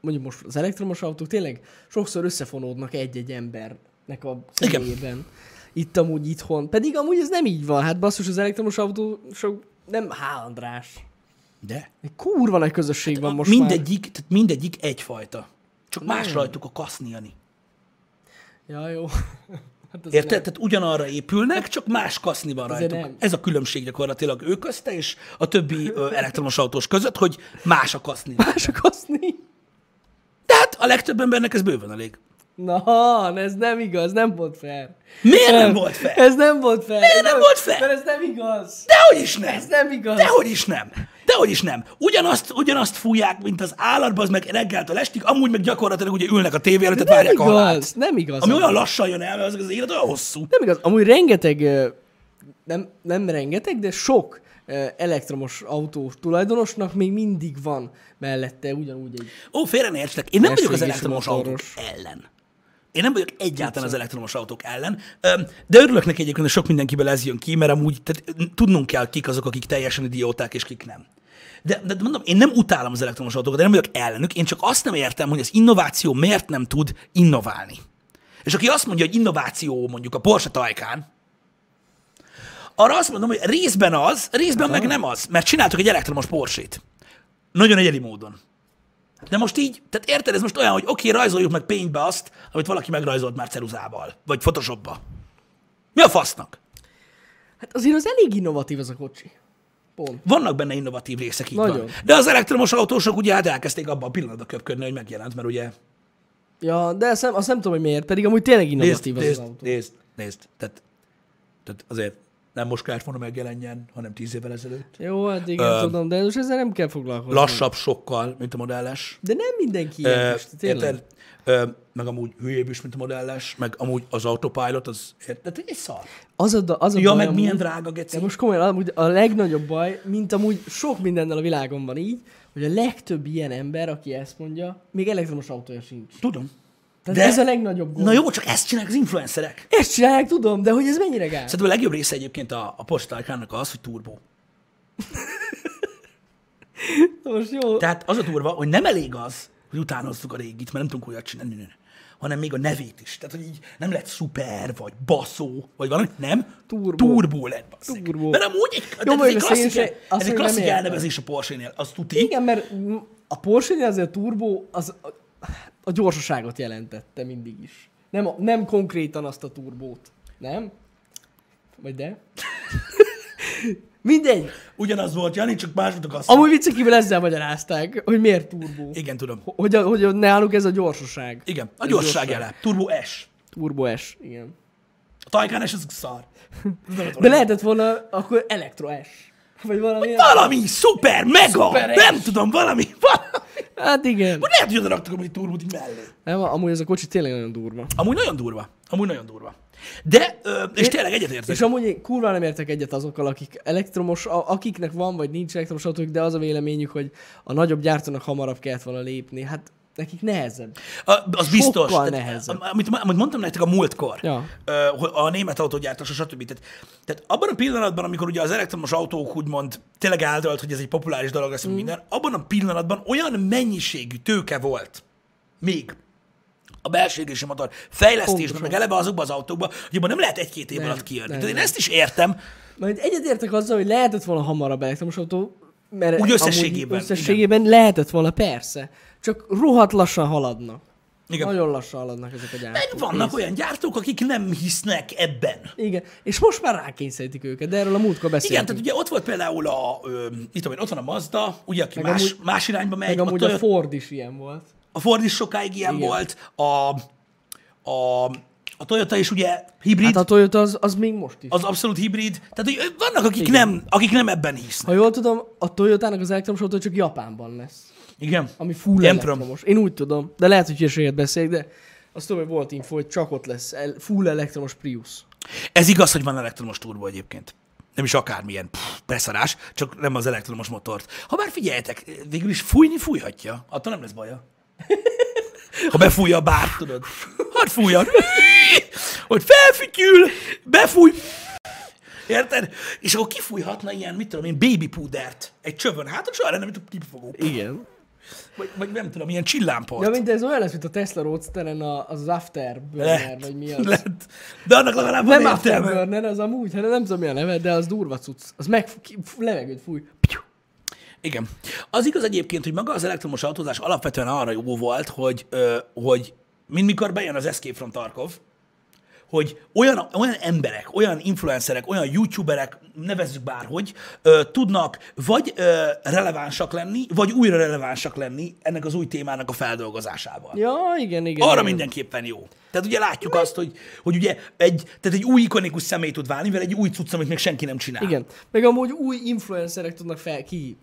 Speaker 2: mondjuk most az elektromos autók, tényleg sokszor összefonódnak egy-egy embernek a
Speaker 1: Igen.
Speaker 2: személyében. Itt amúgy itthon. Pedig amúgy ez nem így van. Hát basszus, az elektromos autó sok nem H. András.
Speaker 1: De.
Speaker 2: Egy kurva nagy közösség
Speaker 1: Hát
Speaker 2: van most már.
Speaker 1: mindegyik, tehát mindegyik egyfajta. Csak más rajtuk a kaszniani.
Speaker 2: Ja, jó. Hát ez
Speaker 1: Érted? Tehát ugyanarra épülnek, csak más kaszni van
Speaker 2: Azért
Speaker 1: rajtuk.
Speaker 2: nem.
Speaker 1: Ez a különbség gyakorlatilag ő közte és a többi ö, elektromos autós között, hogy más a kaszni.
Speaker 2: Mások aszni.
Speaker 1: De hát a legtöbb embernek ez bőven elég.
Speaker 2: Na, ez nem igaz, nem volt fair.
Speaker 1: Miért nem volt fel?
Speaker 2: Ez nem volt fair.
Speaker 1: Miért
Speaker 2: Ez
Speaker 1: nem volt fair?
Speaker 2: Mert ez nem igaz.
Speaker 1: Dehogy is nem!
Speaker 2: Ez nem igaz.
Speaker 1: Dehogy is nem! Dehogy is nem! Ugyanazt, ugyanazt fújják, mint az állatban, az meg reggeltől estig, amúgy meg gyakorlatilag ugye ülnek a tévé előtt, tehát
Speaker 2: nem
Speaker 1: várják a halált.
Speaker 2: igaz, nem igaz.
Speaker 1: Ami
Speaker 2: amúgy.
Speaker 1: olyan lassan jön el, mert az, az élet olyan hosszú.
Speaker 2: Nem igaz, amúgy rengeteg, ö, nem, nem rengeteg, de sok ö, elektromos autó tulajdonosnak még mindig van mellette ugyanúgy egy...
Speaker 1: Ó, félre ne értsetek, én nem vagyok az
Speaker 2: Mercedes
Speaker 1: elektromos autók
Speaker 2: motoros.
Speaker 1: ellen. Én nem vagyok egyáltalán az elektromos autók ellen, Öm, de örülök neki egyébként, hogy sok mindenkiből ez jön ki, mert amúgy tehát, n- tudnunk kell, kik azok, akik teljesen idióták, és kik nem. De, de mondom, én nem utálom az elektromos autókat, én nem vagyok ellenük, én csak azt nem értem, hogy az innováció miért nem tud innoválni. És aki azt mondja, hogy innováció mondjuk a Porsche Taycan, arra azt mondom, hogy részben az, részben meg nem az, mert csináltak egy elektromos Porsét. Nagyon egyedi módon. De most így, tehát érted, ez most olyan, hogy oké, rajzoljuk meg pénzbe azt, amit valaki megrajzolt már ceruzával, vagy photoshopba. Mi a fasznak?
Speaker 2: Hát azért az elég innovatív az a kocsi. Pont.
Speaker 1: Vannak benne innovatív részek, így Nagyon. van.
Speaker 2: Nagyon.
Speaker 1: De az elektromos autósok ugye hát elkezdték abban a pillanatban köpködni, hogy megjelent, mert ugye...
Speaker 2: Ja, de azt nem, azt nem tudom, hogy miért, pedig amúgy tényleg
Speaker 1: Nézd,
Speaker 2: innovatív az,
Speaker 1: nézd,
Speaker 2: az autó.
Speaker 1: nézd, nézd, tehát, tehát azért nem most kellett volna megjelenjen, hanem tíz évvel ezelőtt.
Speaker 2: Jó, hát igen, tudom, de most ezzel nem kell foglalkozni.
Speaker 1: Lassabb sokkal, mint a modelles.
Speaker 2: De nem mindenki ilyen, most, tényleg.
Speaker 1: Érted? Ö, meg amúgy hülyébb is, mint a modelles, meg amúgy az autopilot, az... Érted? Egy szar.
Speaker 2: Az a, da- az a
Speaker 1: Ja,
Speaker 2: baj
Speaker 1: meg
Speaker 2: amúgy-
Speaker 1: milyen drága, geci.
Speaker 2: De most komolyan, amúgy a legnagyobb baj, mint amúgy sok mindennel a világon van így, hogy a legtöbb ilyen ember, aki ezt mondja, még elektromos autója sincs.
Speaker 1: Tudom.
Speaker 2: Tehát ez a legnagyobb gond.
Speaker 1: Na jó, csak ezt csinálják az influencerek.
Speaker 2: Ezt csinálják, tudom, de hogy ez mennyire gáz?
Speaker 1: Szerintem a legjobb része egyébként a, a postálkának az, hogy turbó.
Speaker 2: Most jó.
Speaker 1: Tehát az a durva, hogy nem elég az, hogy utánozzuk a régit, mert nem tudunk olyat csinálni, nő, nő, nő. hanem még a nevét is. Tehát, hogy így nem lett szuper, vagy baszó, vagy valami, nem?
Speaker 2: Turbó.
Speaker 1: Turbó lett, basszik.
Speaker 2: Turbó.
Speaker 1: Mert amúgy egy, tehát ez
Speaker 2: mondjuk
Speaker 1: egy
Speaker 2: azt én
Speaker 1: klasszik,
Speaker 2: se- azt
Speaker 1: ez egy
Speaker 2: én nem
Speaker 1: klasszik
Speaker 2: értem.
Speaker 1: elnevezés a Porsche-nél, az tuti.
Speaker 2: Igen, mert a porsche azért a turbo az a, a gyorsaságot jelentette mindig is. Nem, a, nem konkrétan azt a turbót. Nem? Vagy de? Mindegy.
Speaker 1: Ugyanaz volt, Jani, csak más volt a gazda.
Speaker 2: Amúgy viccen kívül ezzel magyarázták, hogy miért turbó.
Speaker 1: Igen, tudom.
Speaker 2: Hogy, a, hogy a- náluk ez a gyorsaság.
Speaker 1: Igen, a
Speaker 2: Ez
Speaker 1: gyorság jele. Turbo S.
Speaker 2: Turbo S, igen.
Speaker 1: A Taycan S az szar. Ez nem
Speaker 2: De lehetett volna akkor elektro S. Vagy valami.
Speaker 1: Valami szuper, mega,
Speaker 2: Szuper
Speaker 1: nem tudom, valami, valami.
Speaker 2: Hát igen.
Speaker 1: Vagy lehet, hogy oda raktak amúgy egy turbót így mellé.
Speaker 2: Nem, amúgy ez a kocsi tényleg nagyon durva.
Speaker 1: Amúgy nagyon durva. Amúgy nagyon durva. De, ö, és tényleg egyetértek.
Speaker 2: És amúgy én kurva nem értek egyet azokkal, akik elektromos, a- akiknek van vagy nincs elektromos autók, de az a véleményük, hogy a nagyobb gyártónak hamarabb kellett volna lépni. Hát nekik nehezebb.
Speaker 1: A- Az biztos.
Speaker 2: sokkal
Speaker 1: Tehát,
Speaker 2: nehezebb.
Speaker 1: Amit, amit mondtam nektek a múltkor,
Speaker 2: Ja.
Speaker 1: ö, hogy a német autógyártás, stb. Tehát, tehát abban a pillanatban, amikor ugye az elektromos autók úgymond tényleg eldölt, hogy ez egy populáris dolog lesz, mm. minden, abban a pillanatban olyan mennyiségű tőke volt még a belső égési motor fejlesztésben,
Speaker 2: Pontosan.
Speaker 1: meg eleve azokban az autókban, hogy abban nem lehet egy-két év
Speaker 2: Nem,
Speaker 1: alatt kijönni.
Speaker 2: nem,
Speaker 1: Tehát én
Speaker 2: nem.
Speaker 1: ezt is értem,
Speaker 2: Majd egyet értek azzal, hogy lehetett volna hamarabb elektromos autó, Mert
Speaker 1: Úgy
Speaker 2: amúgy
Speaker 1: összességében,
Speaker 2: Összességében igen. lehetett volna, persze. Csak rohadt lassan haladnak.
Speaker 1: Igen.
Speaker 2: Igen. Nagyon lassan haladnak ezek a
Speaker 1: Meg
Speaker 2: gyártók.
Speaker 1: vannak olyan gyártók, akik nem hisznek ebben.
Speaker 2: Igen, és most már rákényszerítik őket, de erről a múltkor
Speaker 1: Igen,
Speaker 2: beszéltünk.
Speaker 1: tehát ugye ott volt például a, ö, mit tudom én, ott van a Mazda, ugye, aki
Speaker 2: Meg
Speaker 1: más,
Speaker 2: amúgy-
Speaker 1: más irányba megy,
Speaker 2: meg amúgy
Speaker 1: a,
Speaker 2: a
Speaker 1: Toyota-
Speaker 2: Ford is ilyen volt.
Speaker 1: a Ford is sokáig ilyen
Speaker 2: Igen.
Speaker 1: volt, a, a, a Toyota is ugye hibrid,
Speaker 2: Hát a Toyota az, az még most is.
Speaker 1: az abszolút hibrid, tehát hogy ö, vannak, akik nem, akik nem ebben hisznek.
Speaker 2: Ha jól tudom, a Toyotának az elektromos autó csak Japánban lesz.
Speaker 1: Igen.
Speaker 2: Ami full
Speaker 1: Nem
Speaker 2: elektromos. Én úgy tudom, de lehet, hogy hülyeséget beszélek, de azt tudom, hogy volt info, hogy csak ott lesz el, full elektromos Prius.
Speaker 1: Ez igaz, hogy van elektromos turbo egyébként. Nem is akármilyen pff, beszarás, csak nem az elektromos motort. Ha bár figyeljetek, végül is fújni fújhatja, attól nem lesz baja. Ha befújja a bár, tudod. Hadd fújjon. Hogy felfütyül, befúj. Érted? És akkor kifújhatna ilyen, mit tudom én, baby púdert egy csövön hátra, és arra nem jutott kipfogó.
Speaker 2: Igen.
Speaker 1: Vagy, vagy nem tudom, ilyen csillámport.
Speaker 2: Ja, mint ez olyan lesz, mint a Tesla Roadsteren a- az Afterburner,
Speaker 1: Lehet.
Speaker 2: vagy mi az.
Speaker 1: Lehet. De annak legalább van
Speaker 2: Nem
Speaker 1: értelme.
Speaker 2: Afterburner, az amúgy, hanem nem tudom mi a neve, de az durva cucc. Az meg ki- f- levegőt fúj. Piu.
Speaker 1: Igen. Az igaz egyébként, hogy maga az elektromos autózás alapvetően arra jó volt, hogy, ö, hogy mint mikor bejön az Escape from Tarkov, hogy olyan, olyan emberek, olyan influencerek, olyan youtuberek, nevezzük bárhogy, ö, tudnak vagy ö, relevánsak lenni, vagy újra relevánsak lenni ennek az új témának a feldolgozásával.
Speaker 2: Ja, igen, igen.
Speaker 1: Arra
Speaker 2: igen.
Speaker 1: mindenképpen jó. Tehát ugye látjuk azt, hogy, hogy ugye egy, tehát egy új ikonikus személy tud válni, mivel egy új cucc, amit még senki nem csinál.
Speaker 2: Igen. Meg amúgy új influencerek tudnak fel, ki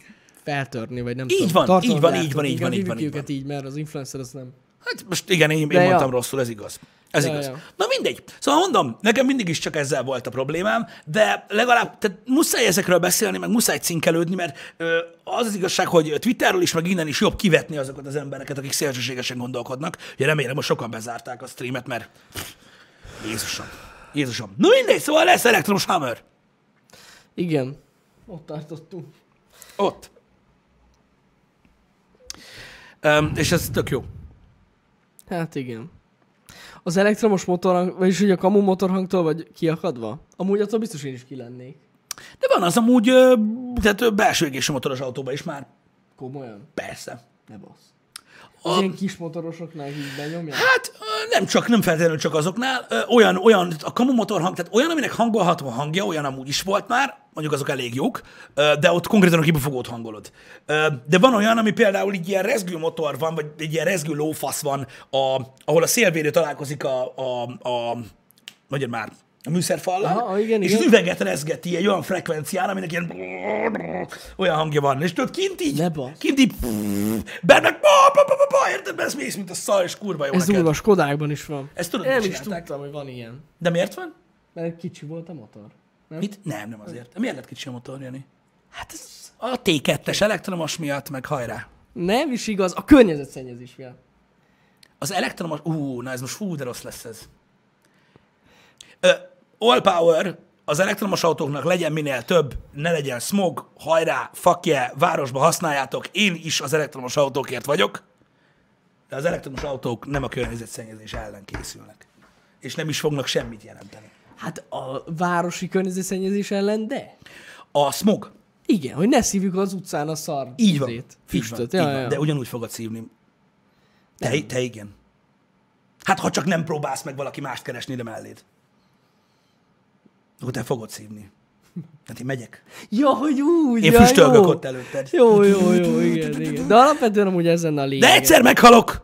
Speaker 2: feltörni, vagy nem
Speaker 1: Így
Speaker 2: tudom.
Speaker 1: van,
Speaker 2: tartalomgyártók,
Speaker 1: így van, így van, így
Speaker 2: inkább
Speaker 1: van, így van,
Speaker 2: hívjuk
Speaker 1: így van.
Speaker 2: őket így, mert az influencer az nem.
Speaker 1: Hát most igen, én, én
Speaker 2: De ja.
Speaker 1: mondtam rosszul, ez igaz. Ez
Speaker 2: Ja,
Speaker 1: igaz.
Speaker 2: ja.
Speaker 1: Na mindegy. Szóval mondom, nekem mindig is csak ezzel volt a problémám, de legalább tehát muszáj ezekről beszélni, meg muszáj cinkelődni, mert ö, az az igazság, hogy Twitterről is, meg innen is jobb kivetni azokat az embereket, akik szélsőségesen gondolkodnak. Ugye remélem, hogy sokan bezárták a streamet, mert Jézusom. Jézusom. Na mindegy, szóval lesz elektromos hammer.
Speaker 2: Igen. Ott tartottunk.
Speaker 1: Ott. Öm, és ez tök jó.
Speaker 2: Hát igen. Az elektromos motorhang, vagyis hogy a kamu motorhangtól vagy kiakadva? Amúgy attól biztos én is ki lennék.
Speaker 1: De van az amúgy, ö, tehát ö, belső égésű motoros autóban is már,
Speaker 2: Komolyan.
Speaker 1: persze.
Speaker 2: Ne basz. Az
Speaker 1: A-
Speaker 2: ilyen kis motorosoknál így benyomják.
Speaker 1: Hát ö, nem csak, nem feltétlenül csak azoknál, ö, olyan, olyan, a kamumotor hang, tehát olyan, aminek hangolható a hangja, olyan amúgy is volt már, mondjuk azok elég jók, ö, de ott konkrétan a kibefogót hangolod. Ö, De van olyan, ami például így ilyen rezgő motor van, vagy egy ilyen rezgő lófasz van, a, ahol a szélvédő találkozik a, a, a magyar már, a műszerfallal,
Speaker 2: Aha, ah, igen,
Speaker 1: és
Speaker 2: igen.
Speaker 1: az üveget rezgeti egy olyan frekvencián, aminek ilyen olyan hangja van. És tudod, kint így,
Speaker 2: Ne basz.
Speaker 1: kint így, benne, ba, ba, ba, ba, ba, érted, ez mész, mint a szar, és kurva jó
Speaker 2: Ez
Speaker 1: neked.
Speaker 2: durva, Skodákban is van.
Speaker 1: Ezt tudod,
Speaker 2: Nem
Speaker 1: mit
Speaker 2: is
Speaker 1: csinálták?
Speaker 2: tudtam, hogy van ilyen.
Speaker 1: De miért van?
Speaker 2: Mert kicsi volt a motor. Nem?
Speaker 1: Mit? Nem, nem azért. Miért lett kicsi a motor, Jani? Hát ez a T2-es elektromos miatt, meg hajrá.
Speaker 2: Nem is igaz, a környezetszennyezés miatt.
Speaker 1: Az elektromos... Ú, na ez most fú, de rossz lesz ez. Ö, all power az elektromos autóknak legyen minél több, ne legyen smog, hajrá, fakje, városba használjátok, én is az elektromos autókért vagyok, de az elektromos autók nem a környezetszennyezés ellen készülnek, és nem is fognak semmit jelenteni.
Speaker 2: Hát a városi környezetszennyezés ellen, de?
Speaker 1: A smog,
Speaker 2: Igen, hogy ne szívjuk az utcán a szar
Speaker 1: Így van.
Speaker 2: izét,
Speaker 1: Füstöt,
Speaker 2: füstöt.
Speaker 1: így
Speaker 2: Ja,
Speaker 1: van,
Speaker 2: ja.
Speaker 1: De ugyanúgy fogod szívni. Te, te igen. Hát ha csak nem próbálsz meg valaki mást keresni ide melléd. Akkor te fogod szívni. Hát én megyek.
Speaker 2: ja, hogy úgy.
Speaker 1: Én
Speaker 2: ja,
Speaker 1: füstölgök
Speaker 2: jó.
Speaker 1: ott előtted.
Speaker 2: Jó, jó, jó, igen, igen. De alapvetően amúgy ezen a lényeg.
Speaker 1: De egyszer meghalok!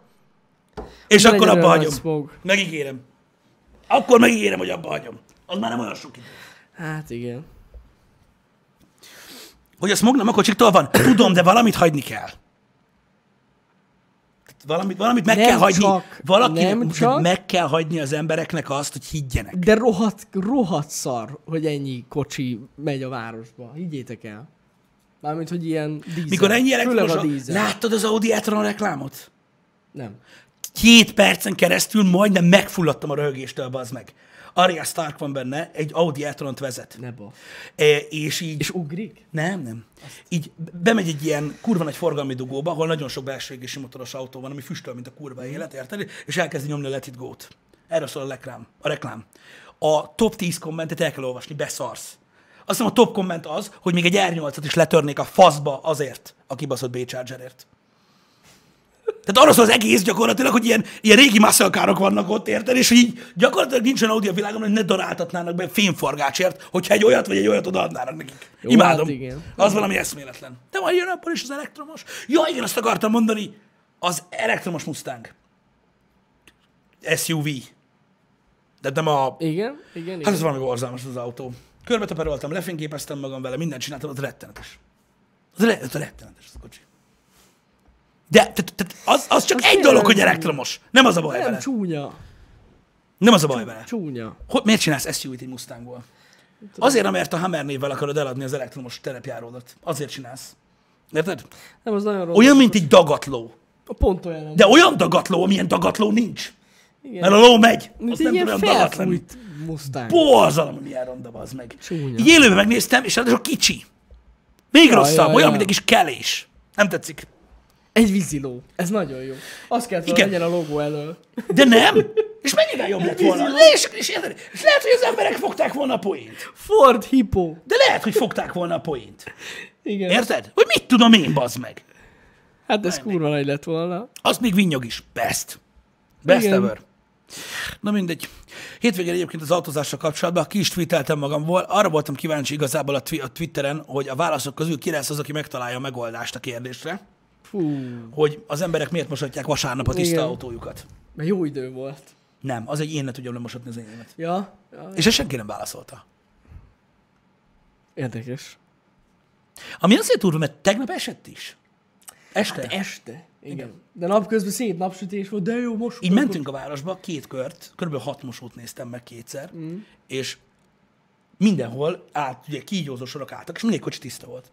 Speaker 1: És
Speaker 2: Legyen
Speaker 1: akkor abba
Speaker 2: olyan
Speaker 1: hagyom.
Speaker 2: smog.
Speaker 1: Megígérem. Akkor megígérem, hogy abba hagyom. Az már nem olyan sok idő.
Speaker 2: Hát igen.
Speaker 1: Hogy a smog nem a kocsiktól van? Tudom, de valamit hagyni kell. Tehát Valamit, valamit meg
Speaker 2: Nem
Speaker 1: kell hagyni.
Speaker 2: csak,
Speaker 1: valakinek,
Speaker 2: nem
Speaker 1: most
Speaker 2: csak.
Speaker 1: meg kell hagyni az embereknek azt, hogy higgyenek.
Speaker 2: De rohadt, rohadt szar, hogy ennyi kocsi megy a városba. Higgyétek el. Mármint, hogy ilyen dízel.
Speaker 1: Mikor ennyi
Speaker 2: Főleg
Speaker 1: elektromos...
Speaker 2: a dízel.
Speaker 1: Láttad az Audi e-tron reklámot?
Speaker 2: Nem.
Speaker 1: Két percen keresztül majdnem megfulladtam a röhögéstől, bazd meg. Arya Stark van benne, egy Audi e-tront vezet.
Speaker 2: Ne basz.
Speaker 1: E, és így...
Speaker 2: És ugrik?
Speaker 1: Nem, nem. Így bemegy egy ilyen kurva nagy forgalmi dugóba, ahol nagyon sok belső égési motoros autó van, ami füstöl, mint a kurva
Speaker 2: Mhm.
Speaker 1: élet, érted? És elkezdi nyomni a Let It Go-t. Erről szól a reklám. A, reklám. a top 10 kommentet el kell olvasni, beszarsz. A Azt hiszem a top komment az, hogy még egy R8-at is letörnék a faszba azért, a kibaszott b chargerért Tehát arra szól az egész gyakorlatilag, hogy ilyen, ilyen régi muscle car-ok vannak ott, érted? És így gyakorlatilag nincsen Audi a világon, hogy ne daráltatnának be fémforgácsért, hogyha egy olyat vagy egy olyat odaadnának nekik.
Speaker 2: Jó,
Speaker 1: Imádom.
Speaker 2: hát igen.
Speaker 1: Az valami eszméletlen. De majd jön abból is az elektromos. Ja, igen, azt akartam mondani. Az elektromos Mustang. SUV. De nem a
Speaker 2: Igen, igen,
Speaker 1: Hát
Speaker 2: igen.
Speaker 1: ez valami borzalmas az autó. Körbe teperoltam, lefényképeztem magam vele, mindent csináltam, az rettenetes. Az, re- az rettenetes az a kocsi. De tehát, tehát az, az csak
Speaker 2: Az
Speaker 1: egy
Speaker 2: tényleg
Speaker 1: dolog, hogy
Speaker 2: nem-
Speaker 1: elektromos. Nem az a baj
Speaker 2: Nem
Speaker 1: vele.
Speaker 2: csúnya.
Speaker 1: Nem az a baj vele.
Speaker 2: Csúnya.
Speaker 1: Hogy, miért csinálsz SUV-t egy Mustangból? Azért, mert a Hammer névvel akarod eladni az elektromos terepjáródat. Azért csinálsz. Érted?
Speaker 2: Nem, az nagyon rossz.
Speaker 1: Olyan, mint egy dagatló.
Speaker 2: Pont olyan.
Speaker 1: De olyan dagatló, amilyen dagatló nincs.
Speaker 2: Igen.
Speaker 1: Mert a ló megy.
Speaker 2: Mint
Speaker 1: Azt
Speaker 2: egy
Speaker 1: nem tud
Speaker 2: ilyen
Speaker 1: olyan dagat lenni.
Speaker 2: felfújt Mustang.
Speaker 1: borzalom, hogy milyen ronda az meg.
Speaker 2: Csúnya.
Speaker 1: Így élőben megnéztem, és ráadásul kicsi. Még ja, rosszabb, ja,
Speaker 2: ja,
Speaker 1: olyan,
Speaker 2: ja.
Speaker 1: mint egy kis kelés. Nem tetszik.
Speaker 2: Egy víziló. Ez nagyon jó. Azt kellett volna,
Speaker 1: Igen.
Speaker 2: legyen a logó elől.
Speaker 1: De nem. És mennyivel jobb lett volna. És, és, érted? és lehet, hogy az emberek fogták volna a poént.
Speaker 2: Ford Hippo.
Speaker 1: De lehet, hogy fogták volna a poént.
Speaker 2: Igen.
Speaker 1: Érted? Hogy mit tudom én, bazd meg.
Speaker 2: Hát ez kurva nagy lett volna.
Speaker 1: Az még vinnyog is. Best. Best Igen.
Speaker 2: Igen.
Speaker 1: ever. Na mindegy. Hétvégén egyébként az autózással kapcsolatban ki is tweeteltem magamból. Arra voltam kíváncsi igazából a, twi- a Twitteren, hogy a válaszok közül ki lesz az, aki megtalálja a megoldást a kérdésre.
Speaker 2: Fú.
Speaker 1: hogy az emberek miért mosatják vasárnap a tiszta
Speaker 2: Igen.
Speaker 1: autójukat.
Speaker 2: Mert jó idő volt.
Speaker 1: Nem, az egy én ne tudjam lemosatni az enyémet.
Speaker 2: Ja? ja.
Speaker 1: És ezt senki nem válaszolta.
Speaker 2: Érdekes.
Speaker 1: Ami azért durva, mert tegnap esett is. Este. Hát
Speaker 2: Este. Igen. Igen. De napközben szép napsütés volt, de jó most.
Speaker 1: Így mentünk a városba, két kört, körülbelül hat mosót néztem meg kétszer, mm. és mindenhol át, ugye kígyózó sorok álltak, és mindegyik kocsi tiszta volt.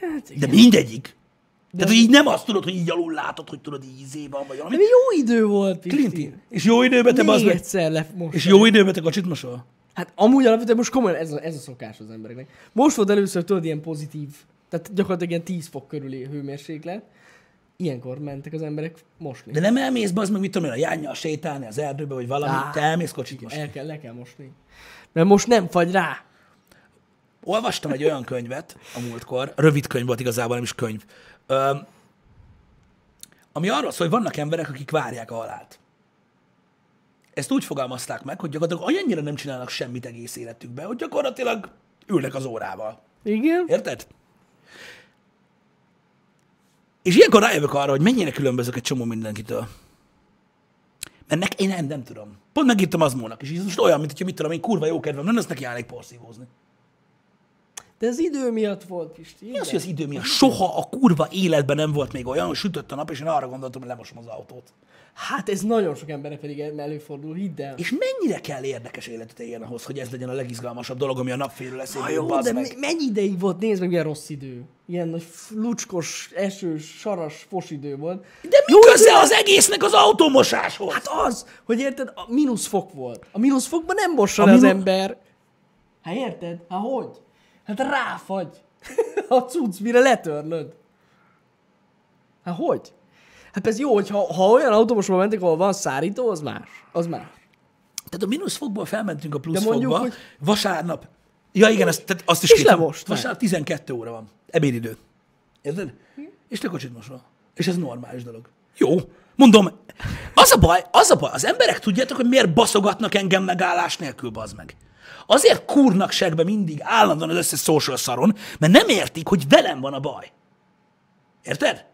Speaker 2: Hát,
Speaker 1: De
Speaker 2: igen.
Speaker 1: mindegyik. De Tehát, hogy így nem azt tudod, hogy így alul látod, hogy tudod, így izé van, vagy
Speaker 2: De
Speaker 1: valami.
Speaker 2: mi jó idő volt, Pisti.
Speaker 1: Clint Eastwood. És jó időben te bazd
Speaker 2: Hát, Még
Speaker 1: meg.
Speaker 2: egyszer le most.
Speaker 1: És jó időben te kocsit mosol?
Speaker 2: Hát amúgy alapvetően most komolyan ez a, ez a szokás az embereknek. Most volt először, tudod, ilyen pozitív, tehát gyakorlatilag ilyen 10 fok körüli hőmérséklet. Ilyenkor mentek az emberek mosni.
Speaker 1: De nem elmész, bazd meg, mit tudom én, a jányjal sétálni az erdőbe, vagy valami,
Speaker 2: Á.
Speaker 1: te elmész kocsit most.
Speaker 2: El kell, le kell mosni. Mert most nem fagy rá.
Speaker 1: Olvastam egy olyan könyvet a múltkor, rövid könyv volt igazából, nem is könyv, öm, ami arról szól, hogy vannak emberek, akik várják a halált. Ezt úgy fogalmazták meg, hogy gyakorlatilag olyannyira nem csinálnak semmit egész életükben, hogy gyakorlatilag ülnek az órával.
Speaker 2: Igen?
Speaker 1: Érted? És ilyenkor rájövök arra, hogy mennyire különbözök egy csomó mindenkitől. Mert nek, én nem, nem tudom. Pont megírtam az mónak, és ez most olyan, mint hogyha mit tudom, én kurva jó kedvem, nem lesz neki állnék porszívózni.
Speaker 2: De ez idő miatt volt, Pisti.
Speaker 1: Mi
Speaker 2: igen.
Speaker 1: az, hogy az idő miatt? Soha a kurva életben nem volt még olyan, hogy sütött a nap, és én arra gondoltam, hogy lemosom az autót.
Speaker 2: Hát ez nagyon sok embernek pedig előfordul, hidd el.
Speaker 1: És mennyire kell érdekes életet éljen ahhoz, hogy ez legyen a legizgalmasabb dolog, ami a napfélő lesz.
Speaker 2: Na
Speaker 1: én
Speaker 2: Ah, jó,
Speaker 1: bazd
Speaker 2: de
Speaker 1: meg.
Speaker 2: me- mennyi ideig volt? Nézd meg, milyen rossz idő. Ilyen nagy f- lucskos, esős, saras, fos idő volt.
Speaker 1: de mi
Speaker 2: Jó,
Speaker 1: köze az egésznek az autómosáshoz?
Speaker 2: Hát az, hogy érted, a mínusz fok volt. A mínusz fokban nem mossa
Speaker 1: A
Speaker 2: le az
Speaker 1: mínu-
Speaker 2: ember. Hát érted? Hát hogy? Hát ráfagy. a cucc, mire letörlöd. Hát hogy? Hát ez jó, hogy ha, ha olyan autómosban mentek, ahol van szárító, az más. Az más.
Speaker 1: Tehát a mínusz fokból felmentünk a plusz
Speaker 2: De mondjuk,
Speaker 1: fokba.
Speaker 2: hogy-
Speaker 1: Vasárnap. Ja igen, azt, tehát azt is
Speaker 2: És
Speaker 1: kétem.
Speaker 2: lemosták.
Speaker 1: Vasárnap 12 óra van. Ebédidő. Érted?
Speaker 2: Hm.
Speaker 1: És te kocsit mosol. És ez normális dolog. Jó. Mondom, az a baj, az a baj, az emberek tudjátok, hogy miért baszogatnak engem megállás nélkül, bazd meg. Azért kúrnak segbe mindig állandóan az összes social szaron, mert nem értik, hogy velem van a baj. Érted?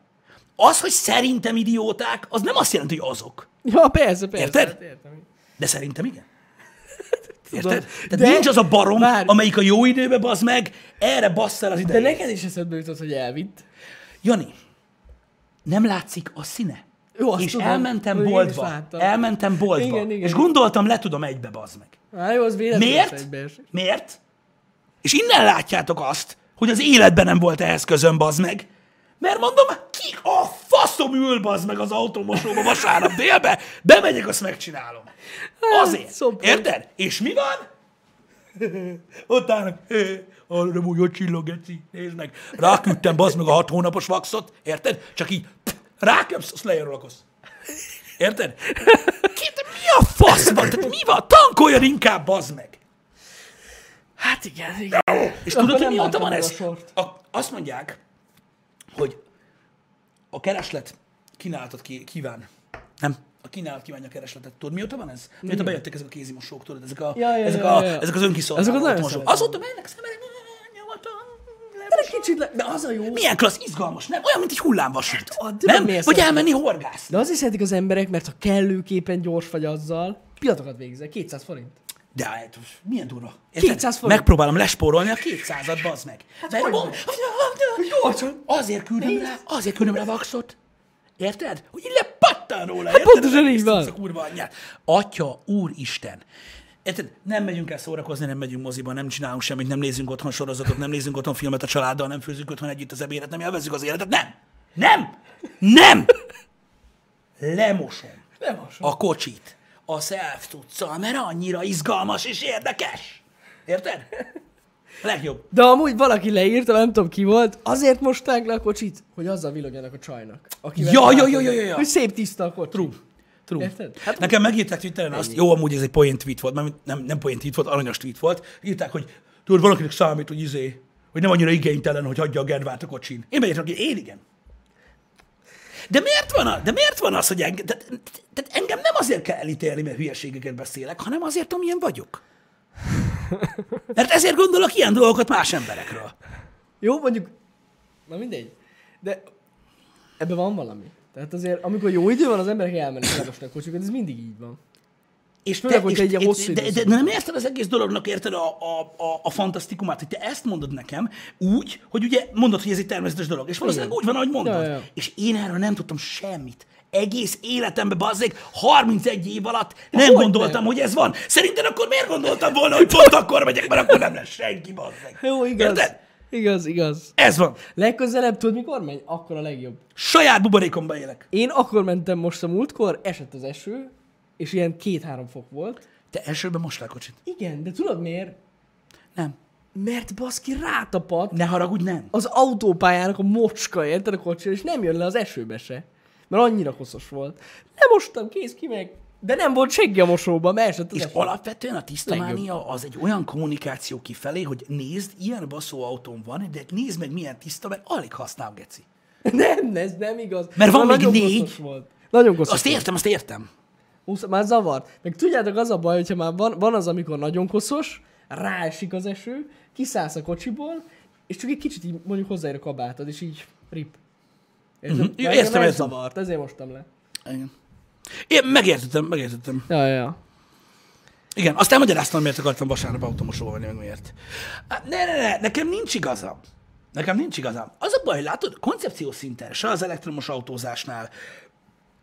Speaker 1: Az, hogy szerintem idióták, az nem azt jelenti, hogy azok.
Speaker 2: Ja, persze, persze.
Speaker 1: Érted?
Speaker 2: Hát értem.
Speaker 1: De szerintem igen. Érted? Tehát
Speaker 2: De-
Speaker 1: nincs az a barom,
Speaker 2: Várj.
Speaker 1: amelyik a jó időbe bazd meg, erre bassz el az
Speaker 2: De
Speaker 1: idejét. Ne...
Speaker 2: neked is eszedbe jutott, hogy elvitt.
Speaker 1: Jani, nem látszik a színe.
Speaker 2: Jó, azt
Speaker 1: és
Speaker 2: tudom,
Speaker 1: elmentem
Speaker 2: hogy én is
Speaker 1: boltba.
Speaker 2: láttam.
Speaker 1: Elmentem boltba.
Speaker 2: Igen, igen.
Speaker 1: És gondoltam, le tudom egybe, bazd meg.
Speaker 2: Hát jó, az véletlen.
Speaker 1: Miért? Miért? És innen látjátok azt, hogy az életben nem volt ehhez közöm, bazd meg. Mert mondom, ki a faszom ül, bazd meg az autómosóba vasárnap délbe, bemegyek, azt megcsinálom. Azért.
Speaker 2: szopor.
Speaker 1: Érted? És mi van? Ott állnak, hé, arra nem úgy, hogy csillog, geci, nézd meg. Ráküldtem, bazd meg a hat hónapos vaxot, érted? Csak így pff, ráköpsz, azt lejön rolakosz. Érted? Ki, de mi a fasz van? Tehát mi van? Tankoljon inkább, bazd meg!
Speaker 2: Hát igen, igen.
Speaker 1: És
Speaker 2: Akkor
Speaker 1: tudod, hogy
Speaker 2: nem
Speaker 1: mióta
Speaker 2: láttam
Speaker 1: van
Speaker 2: meg a
Speaker 1: ez?
Speaker 2: sort.
Speaker 1: A, azt mondják, hogy a kereslet kínálatot ki, kíván. Nem. A kínálat kívánja a keresletet. Tudod, mióta van ez? Mióta bejöttek ezek a kézimosók, tudod, ezek, a,
Speaker 2: Ja, ja,
Speaker 1: ezek,
Speaker 2: ja,
Speaker 1: a,
Speaker 2: ja, ja.
Speaker 1: ezek az önkiszolgáló
Speaker 2: Azokat nagyon
Speaker 1: mosók.
Speaker 2: szeretem.
Speaker 1: Azóta mennek szemben, nyugodtan,
Speaker 2: De egy kicsit le... De az a jó.
Speaker 1: Milyen klassz, izgalmas, nem? Olyan, mint egy hullámvasút.
Speaker 2: a- tudom,
Speaker 1: nem?
Speaker 2: miért
Speaker 1: Vagy
Speaker 2: szeretem.
Speaker 1: elmenni horgász.
Speaker 2: De azért szeretik az emberek, mert ha kellőképpen gyors vagy azzal, pillanatokat végzel, 200 forint.
Speaker 1: De hát, milyen durva. Érted?
Speaker 2: 200 forint. Hát
Speaker 1: Megpróbálom lespórolni a 200-at, bazd meg. De
Speaker 2: hogy
Speaker 1: bom-
Speaker 2: Gyorsan.
Speaker 1: Azért küldöm rá, azért küldöm rá vaxot. Érted? Hogy így lepattan róla. Hát
Speaker 2: pontosan így van.
Speaker 1: A kurva anyját. Atya, úristen. Érted? Nem megyünk el szórakozni, nem megyünk moziba, nem csinálunk semmit, nem nézünk otthon sorozatot, nem nézünk otthon filmet a családdal, nem főzünk otthon együtt az ebédet, nem élvezzük az életet. Nem! Nem! Nem! Lemosom
Speaker 2: Nem hasonló.
Speaker 1: a kocsit a self tudszal, mert annyira izgalmas és érdekes. Érted? A legjobb.
Speaker 2: De amúgy valaki leírta, nem tudom ki volt, azért mosták le a kocsit, hogy azzal villogjanak a csajnak. Akivel
Speaker 1: Ja, ja,
Speaker 2: találkoznak.
Speaker 1: ja, ja, ja, ja.
Speaker 2: Hogy szép tiszta a kocsi. True.
Speaker 1: True.
Speaker 2: Érted?
Speaker 1: Hát,
Speaker 2: Hát-
Speaker 1: Nekem megírták Twitteren azt, jó, amúgy ez egy poén tweet volt, nem, nem, nem poén tweet volt, aranyos tweet volt. Írták, hogy tudod, valakinek számít, hogy izé, hogy nem annyira igénytelen, hogy hagyja a gedvát a kocsin. Én beírtam, hogy én igen. De miért van, a, de miért van az, hogy engem, tehát, tehát engem nem azért kell elítélni, mert hülyeségeket beszélek, hanem azért, amilyen vagyok. Mert ezért gondolok ilyen dolgokat más emberekről.
Speaker 2: Jó, mondjuk, na mindegy. De ebben van valami. Tehát azért, amikor jó idő van, az emberek elmennek elmosnak a kocsikat, ez mindig így van.
Speaker 1: És
Speaker 2: Főleg, hogyha egy ilyen
Speaker 1: és-
Speaker 2: hosszú
Speaker 1: de, de, de,
Speaker 2: időszak.
Speaker 1: nem érted az egész dolognak, érted a, a, a, a fantasztikumát, hogy te ezt mondod nekem úgy, hogy ugye mondod, hogy ez egy természetes dolog. És valószínűleg
Speaker 2: Igen.
Speaker 1: úgy van, ahogy mondod.
Speaker 2: Ja, ja.
Speaker 1: És én erről nem tudtam semmit. Egész életemben, bazzék, 31 év alatt nem
Speaker 2: hogy
Speaker 1: gondoltam,
Speaker 2: nem?
Speaker 1: hogy ez van. Szerinted akkor miért gondoltam volna, hogy pont akkor megyek, mert akkor nem lesz senki, bazzék.
Speaker 2: Jó, igaz.
Speaker 1: Érted?
Speaker 2: Igaz, igaz.
Speaker 1: Ez van.
Speaker 2: Legközelebb tudod, mikor megy? Akkor a legjobb.
Speaker 1: Saját buborékomba élek.
Speaker 2: Én akkor mentem most a múltkor, esett az eső, és ilyen két-három fok volt.
Speaker 1: Te elsőben most le a kocsit.
Speaker 2: Igen, de tudod miért?
Speaker 1: Nem.
Speaker 2: Mert baszki rátapadt
Speaker 1: Ne haragudj, nem.
Speaker 2: az autópályának a mocska, érted a kocsira, és nem jön le az esőbe se. Mert annyira koszos volt. Nem mostam, kész ki meg. De nem volt senki a mosóban, mert esett az
Speaker 1: És
Speaker 2: eső.
Speaker 1: alapvetően a tisztamánia az egy olyan kommunikáció kifelé, hogy nézd, ilyen baszó autón van, de nézd meg milyen tiszta, mert alig használ, geci.
Speaker 2: Nem, ez nem igaz.
Speaker 1: Mert van
Speaker 2: Már
Speaker 1: még
Speaker 2: nagyon
Speaker 1: négy.
Speaker 2: koszos volt. Nagyon koszos
Speaker 1: Azt értem, azt értem.
Speaker 2: Usz, már zavar. Meg tudjátok, az a baj, hogyha már van, van az, amikor nagyon koszos, ráesik az eső, kiszállsz a kocsiból, és csak egy kicsit így mondjuk hozzáér a kabátod, és így rip. Érted?
Speaker 1: Mhm. Ja,
Speaker 2: Engem
Speaker 1: értem,
Speaker 2: ez
Speaker 1: értem.
Speaker 2: zavart, ezért mostam le.
Speaker 1: Igen. Én megértettem, megértettem.
Speaker 2: Ja, ja, ja.
Speaker 1: Igen, azt elmagyaráztam, miért akartam vasárnap automosóval venni, meg miért. Á, Ne, ne, ne, nekem nincs igazam. Nekem nincs igazam. Az a baj, látod, koncepció szinten, se az elektromos autózásnál,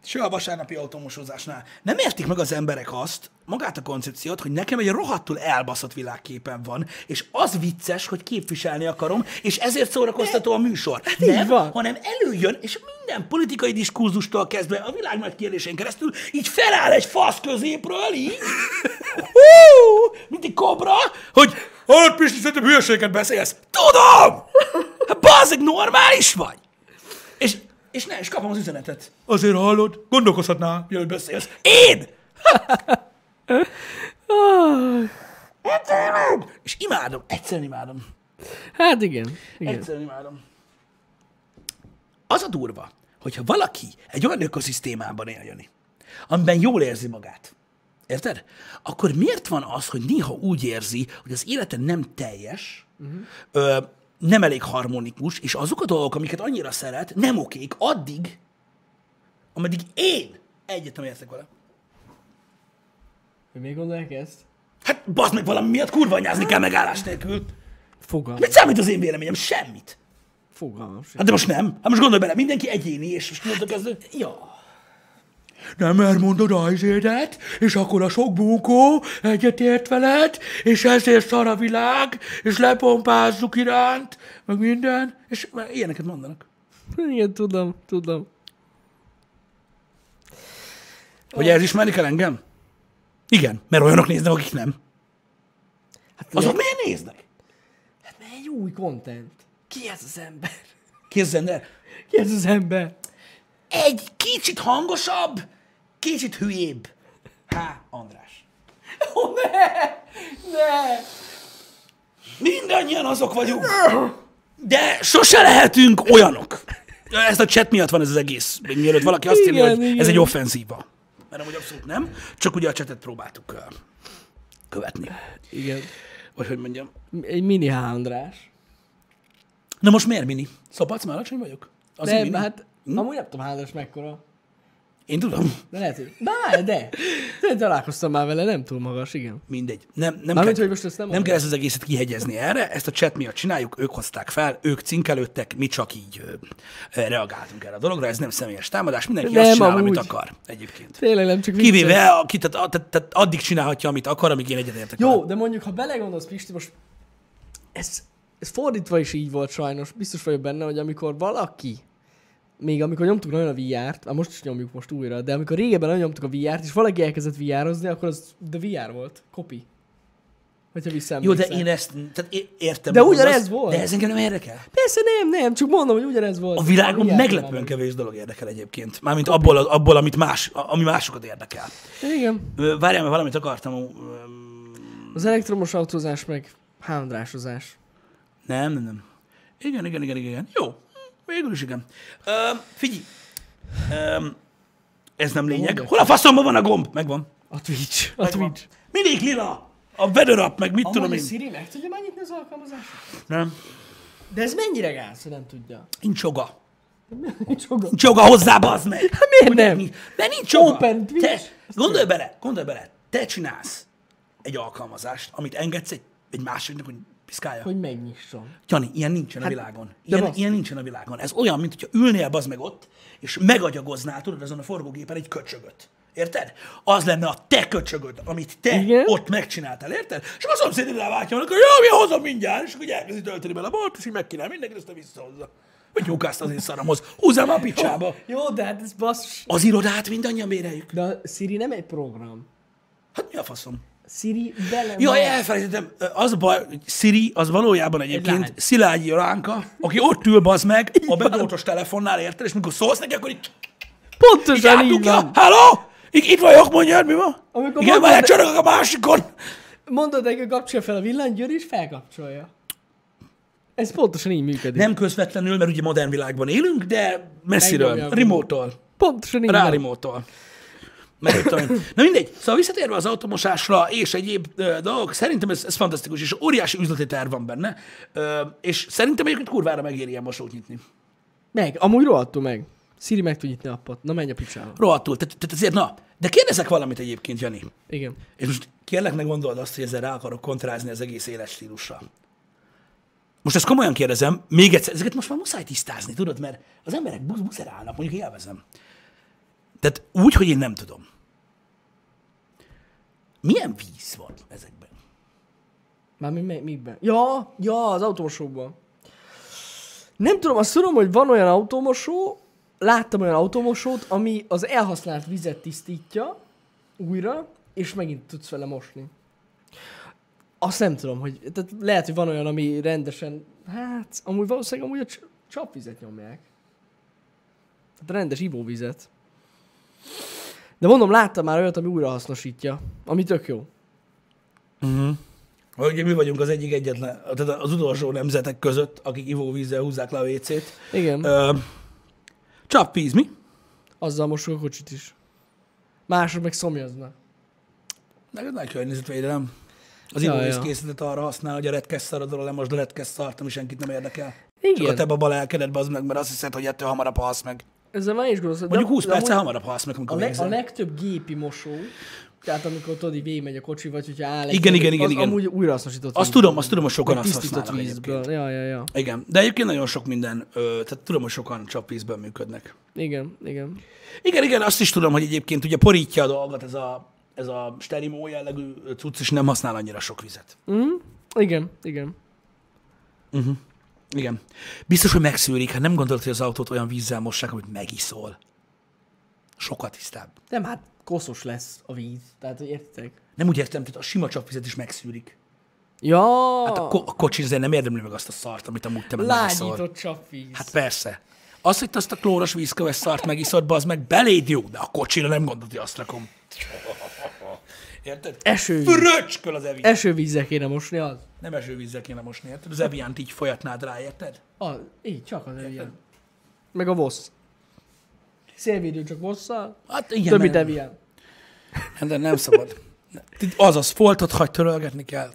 Speaker 1: se a vasárnapi automosózásnál nem értik meg az emberek azt, magát a koncepciót, hogy nekem egy rohadtul elbaszott világképen van, és az vicces, hogy képviselni akarom, és ezért szórakoztató a műsor.
Speaker 2: Hát így
Speaker 1: Nem,
Speaker 2: van.
Speaker 1: hanem előjön, és minden politikai diskurzustól kezdve a világ nagy kérdésén keresztül így feláll egy fasz középről, így, hú, mint egy kobra, hogy hát Pisti, szerintem hülyeséget beszélsz. Tudom! Hát bazzik, normális vagy! És, és ne, és kapom az üzenetet. Azért hallod, gondolkozhatnál, mielőtt beszélsz. Én! Én tényleg! És imádom, egyszerűen imádom.
Speaker 2: Hát igen. igen.
Speaker 1: Egyszerűen imádom. Az a durva, hogyha valaki egy olyan ökoszisztémában éljön, amiben jól érzi magát, érted? Akkor miért van az, hogy néha úgy érzi, hogy az élete nem teljes, uh-huh. ö, nem elég harmonikus, és azok a dolgok, amiket annyira szeret, nem okék addig, ameddig én egyet nem értek vele.
Speaker 2: Hogy még gondolják ezt?
Speaker 1: Hát bazd meg valami miatt kurvanyázni kell megállás nélkül.
Speaker 2: Fogalmam.
Speaker 1: Mit számít az én véleményem? Semmit.
Speaker 2: Fogalmam sincs.
Speaker 1: Hát de most nem. Hát most gondolj bele, mindenki egyéni, és most mondok kezdő.
Speaker 2: Hát, Ja.
Speaker 1: nem elmondod a izédet, és akkor a sok bunkó egyetért veled, és ezért szar a világ, és lepompázzuk iránt, meg minden, és ilyeneket mondanak.
Speaker 2: Igen, tudom, tudom.
Speaker 1: Hogy ez ismerik el engem? Igen, mert olyanok néznek, akik nem.
Speaker 2: Hát
Speaker 1: Azok miért néznek?
Speaker 2: Hát mert egy új content. Ki ez az ember?
Speaker 1: Képzeld el,
Speaker 2: Ki ez az ember?
Speaker 1: egy kicsit hangosabb, kicsit hülyébb. H. András.
Speaker 2: Ne! Ne!
Speaker 1: Mindannyian azok vagyunk. De sose lehetünk olyanok. Ez a chat miatt van ez az egész. Még mielőtt valaki azt írja,
Speaker 2: Igen,
Speaker 1: hogy
Speaker 2: igen.
Speaker 1: ez egy offenzíva. Mert amúgy abszolút nem. Csak ugye a chatet próbáltuk ö, követni.
Speaker 2: Igen.
Speaker 1: Vagy hogy mondjam.
Speaker 2: Egy mini hándrás.
Speaker 1: Na most miért mini? Szopatsz már alacsony vagyok? Az
Speaker 2: nem,
Speaker 1: mini?
Speaker 2: hát hm? amúgy nem tudom hándrás mekkora.
Speaker 1: Én tudom.
Speaker 2: De lehet, hogy... De, várj, de. de. találkoztam már vele, nem túl magas, igen.
Speaker 1: Mindegy. Nem, nem,
Speaker 2: Mármint,
Speaker 1: kell,
Speaker 2: hogy most ezt nem
Speaker 1: nem kell ezt az egészet kihegyezni erre, ezt a chat miatt csináljuk, ők hozták fel, ők cinkelődtek, mi csak így ö, ö, reagáltunk erre a dologra, ez nem személyes támadás, mindenki nem, azt
Speaker 2: Nem,
Speaker 1: csinál, amit
Speaker 2: amúgy.
Speaker 1: akar egyébként.
Speaker 2: Tényleg nem csak vicces.
Speaker 1: Kivéve, aki, tehát, tehát, tehát addig csinálhatja, amit akar, amíg én egyetértek. vele.
Speaker 2: Jó, de mondjuk, ha belegondolsz, Pisti, most ez, ez fordítva is így volt sajnos. Biztos vagyok benne, hogy amikor valaki, még amikor nyomtuk nagyon a VR-t, ah, most is nyomjuk most újra, de amikor régebben nagyon nyomtuk a VR-t, és valaki elkezdett VR-ozni, akkor az de VR volt, kopi. Hogyha
Speaker 1: Jó,
Speaker 2: visszaemlékszel.
Speaker 1: de én ezt tehát é- értem.
Speaker 2: De
Speaker 1: hogy
Speaker 2: ugyanez
Speaker 1: mondasz,
Speaker 2: volt.
Speaker 1: De ez engem nem érdekel.
Speaker 2: Persze nem, nem, csak mondom, hogy ugyanez volt.
Speaker 1: A világon
Speaker 2: VR-ban
Speaker 1: meglepően kevés dolog érdekel egyébként. Mármint abból, abból amit más, ami másokat érdekel.
Speaker 2: van. Igen.
Speaker 1: Ö, Várjál, mert valamit akartam. ö,
Speaker 2: Az elektromos autózás meg hándrásozás.
Speaker 1: Nem, nem, nem. Igen, igen, igen, igen. igen. Jó. Hm, Végül is igen. Öm, figyelj. Öm, ez nem lényeg. Hol a faszomban van a gomb? Megvan.
Speaker 2: A Twitch. A
Speaker 1: Megvan.
Speaker 2: Twitch.
Speaker 1: Mindig lila. A vedorap, meg mit tudom
Speaker 2: Amúgy a
Speaker 1: én.
Speaker 2: Siri meg tudja már nyitni az alkalmazást?
Speaker 1: Nem.
Speaker 2: De ez mennyire gáz, hogy nem tudja?
Speaker 1: Nincs joga.
Speaker 2: Nincs joga.
Speaker 1: Nincs joga hozzá, bazd meg. Hát
Speaker 2: miért nem?
Speaker 1: Mert nincs joga.
Speaker 2: Open Twitch.
Speaker 1: Te, gondolj bele, gondolj bele. Te csinálsz egy alkalmazást, amit engedsz egy, egy másiknak, hogy piszkálja.
Speaker 2: Hogy megnyisson.
Speaker 1: Jani, ilyen nincsen hát, a világon. Ilyen,
Speaker 2: basszus.
Speaker 1: ilyen nincsen a világon. Ez olyan, mint hogyha ülnél bazd meg ott, és megagyagoznál, tudod, azon a forgógépen egy köcsögöt. Érted? Az lenne a te köcsögöd, amit te Igen?
Speaker 2: Igen.
Speaker 1: ott megcsináltál, érted? És a szomszéd ráváltja, hogy jó, mi hozom mindjárt, és akkor így elkezdi tölteni bele a bort, és így megkínál mindenkit, aztán visszahozza. Hogy lyukázt az én szaramhoz. Húzzál már a picsába.
Speaker 2: Jó, de hát ez basszus.
Speaker 1: Az irodát mindannyian méreljük.
Speaker 2: De a Siri nem egy program.
Speaker 1: Hát mi a faszom?
Speaker 2: Siri bele
Speaker 1: Jaj,
Speaker 2: van.
Speaker 1: elfelejtettem. Az a baj, hogy Siri az valójában egyébként
Speaker 2: lány.
Speaker 1: Szilágyi Ránka, aki ott ül, bazd meg, a bedoltos telefonnál, érted? És mikor szólsz neki, akkor így, így
Speaker 2: Pontosan így
Speaker 1: átdugja.
Speaker 2: van.
Speaker 1: Hello? Itt, itt vagyok, mondja, mi van?
Speaker 2: Amikor
Speaker 1: Igen,
Speaker 2: mondod,
Speaker 1: már
Speaker 2: de-
Speaker 1: csörögök a másikon.
Speaker 2: Mondod neki, hogy kapcsolja fel a villanyt, Győr is felkapcsolja. Ez pontosan így működik.
Speaker 1: Nem közvetlenül, mert ugye modern világban élünk, de messziről,
Speaker 2: Megnyomja a
Speaker 1: remote-tól,
Speaker 2: Pontosan így
Speaker 1: rá
Speaker 2: van.
Speaker 1: remote-tól. Meg mit tudom én. Na mindegy, szóval visszatérve az automosásra és egyéb ö, dolgok, szerintem ez, ez fantasztikus, és óriási üzleti terv van benne, ö, és szerintem egyébként kurvára megéri ilyen mosót nyitni.
Speaker 2: Meg, amúgy rohadtul meg. Siri meg tud nyitni appot. Na menj a picsába.
Speaker 1: Rohadtul. Tehát tehát azért, na, de kérdezek valamit egyébként, Jani.
Speaker 2: Igen.
Speaker 1: És most kérlek, ne gondold azt, hogy ezzel rá akarok kontrázni az egész életstílusra. Most ezt komolyan kérdezem, még egyszer, ezeket most már muszáj tisztázni, tudod, mert az emberek busz buzerálnak, mondjuk élvezem. Tehát úgy, hogy én nem tudom. Milyen víz van ezekben?
Speaker 2: Mármint mi, mikben? Ja, ja, az automosóban. Nem tudom, azt tudom, hogy van olyan automosó, láttam olyan automosót, ami az elhasznált vizet tisztítja újra, és megint tudsz vele mosni. Azt nem tudom, hogy tehát lehet, hogy van olyan, ami rendesen, hát amúgy valószínűleg amúgy a cs- csapvizet nyomják. Tehát a rendes ivóvizet. De mondom, láttam már olyat, ami újrahasznosítja, ami tök jó.
Speaker 1: Ugye mi vagyunk az egyik egyetlen, tehát az utolsó nemzetek között, akik ivóvízzel húzzák le a WC-t.
Speaker 2: Igen.
Speaker 1: Ö, Csapvíz, mi?
Speaker 2: Azzal mosok a kocsit is. Mások meg szomjaznak.
Speaker 1: Meg ez nagy környezetvédelem. Az
Speaker 2: Ja,
Speaker 1: ivóvíz
Speaker 2: ja.
Speaker 1: készített arra használ, hogy a retkes szaradról lemosd a retkes szart, ami senkit nem érdekel. Csak a
Speaker 2: Igen,
Speaker 1: te
Speaker 2: te...
Speaker 1: baba lelkedet bazd meg, mert azt hiszed, hogy ettől hamarabb halsz meg.
Speaker 2: ezzel már is gondolsz. de-
Speaker 1: Mondjuk 20
Speaker 2: de
Speaker 1: perccel
Speaker 2: amúgy
Speaker 1: hamarabb halsz meg,
Speaker 2: a,
Speaker 1: amikor
Speaker 2: leg, a
Speaker 1: végzel.
Speaker 2: legtöbb gépi mosó, tehát amikor tudod, így végigmegy a kocsi, vagy hogyha áll egy
Speaker 1: Igen,
Speaker 2: kocsi,
Speaker 1: igen, igen,
Speaker 2: az
Speaker 1: igen.
Speaker 2: amúgy újrahasznosított
Speaker 1: Azt
Speaker 2: vízből.
Speaker 1: tudom, azt tudom, hogy sokan
Speaker 2: Meg
Speaker 1: azt
Speaker 2: tisztított
Speaker 1: használnak
Speaker 2: vízből.
Speaker 1: egyébként.
Speaker 2: Ja, ja, ja.
Speaker 1: Igen, de egyébként nagyon sok minden, ö, tehát tudom, hogy sokan csapvízben működnek.
Speaker 2: Igen, igen.
Speaker 1: Igen, igen, azt is tudom, hogy egyébként ugye porítja a dolgot ez a, ez a sterimó jellegű cucc, és nem használ annyira sok vizet.
Speaker 2: Mm? Igen, igen.
Speaker 1: Igen. Biztos, hogy megszűrik, hát nem gondolod, hogy az autót olyan vízzel mossák, amit megiszol. Sokkal tisztább.
Speaker 2: Nem, hát koszos lesz a víz, tehát hogy értitek.
Speaker 1: Nem úgy értem, tehát a sima csapvizet is megszűrik.
Speaker 2: Ja,
Speaker 1: Hát a, ko- a kocsi azért nem érdemli meg azt a szart, amit amúgy te meg megiszol.
Speaker 2: lágyított csapvíz.
Speaker 1: Hát persze. Az, hogy te azt a klóros vízköves szart megiszod, az meg beléd jó, de a kocsira nem gondolod, hogy azt rakom. Érted?
Speaker 2: Eső.
Speaker 1: Fröcsköl az Evian.
Speaker 2: Esővízzel kéne mosni az.
Speaker 1: Nem esővízzel kéne mosni, érted? Az Eviant így folyatnád rá, érted?
Speaker 2: A, így, csak az ilyen. Meg a vosz. Szélvédő csak vosszal,
Speaker 1: Hát igen,
Speaker 2: többi
Speaker 1: nem,
Speaker 2: devián.
Speaker 1: nem, de nem szabad. Ti- Azaz, foltot hagy törölgetni kell.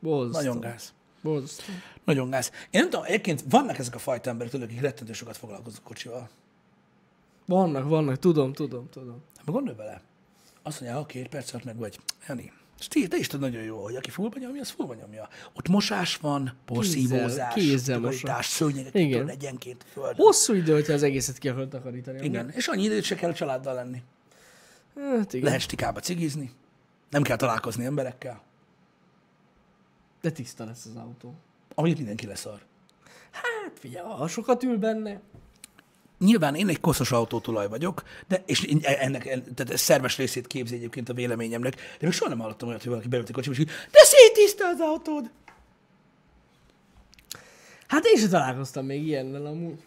Speaker 2: Bozzasztó.
Speaker 1: Nagyon gáz.
Speaker 2: Bozzasztó.
Speaker 1: Nagyon gáz. Én nem tudom, egyébként vannak ezek a fajta emberek, tudod, akik rettentő sokat foglalkoznak kocsival.
Speaker 2: Vannak, vannak, tudom, tudom, tudom.
Speaker 1: Hát meg gondolj bele. Azt mondja, ha két perc alatt meg vagy. Jani, és ti, te is tudod nagyon jó, hogy aki fullba nyomja, az fullba nyomja. Ott mosás van, porszívózás,
Speaker 2: kézzel
Speaker 1: takarítás, szőnyegek
Speaker 2: Igen.
Speaker 1: Igen. egyenként föld.
Speaker 2: Hosszú idő, hogyha az egészet ki akarod takarítani. amúgy.
Speaker 1: Igen, és annyi időt se kell a családdal lenni.
Speaker 2: Hát igen.
Speaker 1: Lehet stikába cigizni, nem kell találkozni emberekkel,
Speaker 2: De tiszta lesz az autó.
Speaker 1: amit mindenki leszar.
Speaker 2: Hát figyelj, ha sokat ül benne.
Speaker 1: Nyilván én egy koszos autótulaj vagyok, de, és én e- ennek, en- tehát ez szerves részét képzi egyébként a véleményemnek, de még soha nem hallottam olyat, hogy valaki beült a kocsiba, és így, de szétiszta az autód!
Speaker 2: Hát én sem találkoztam még ilyennel amúgy.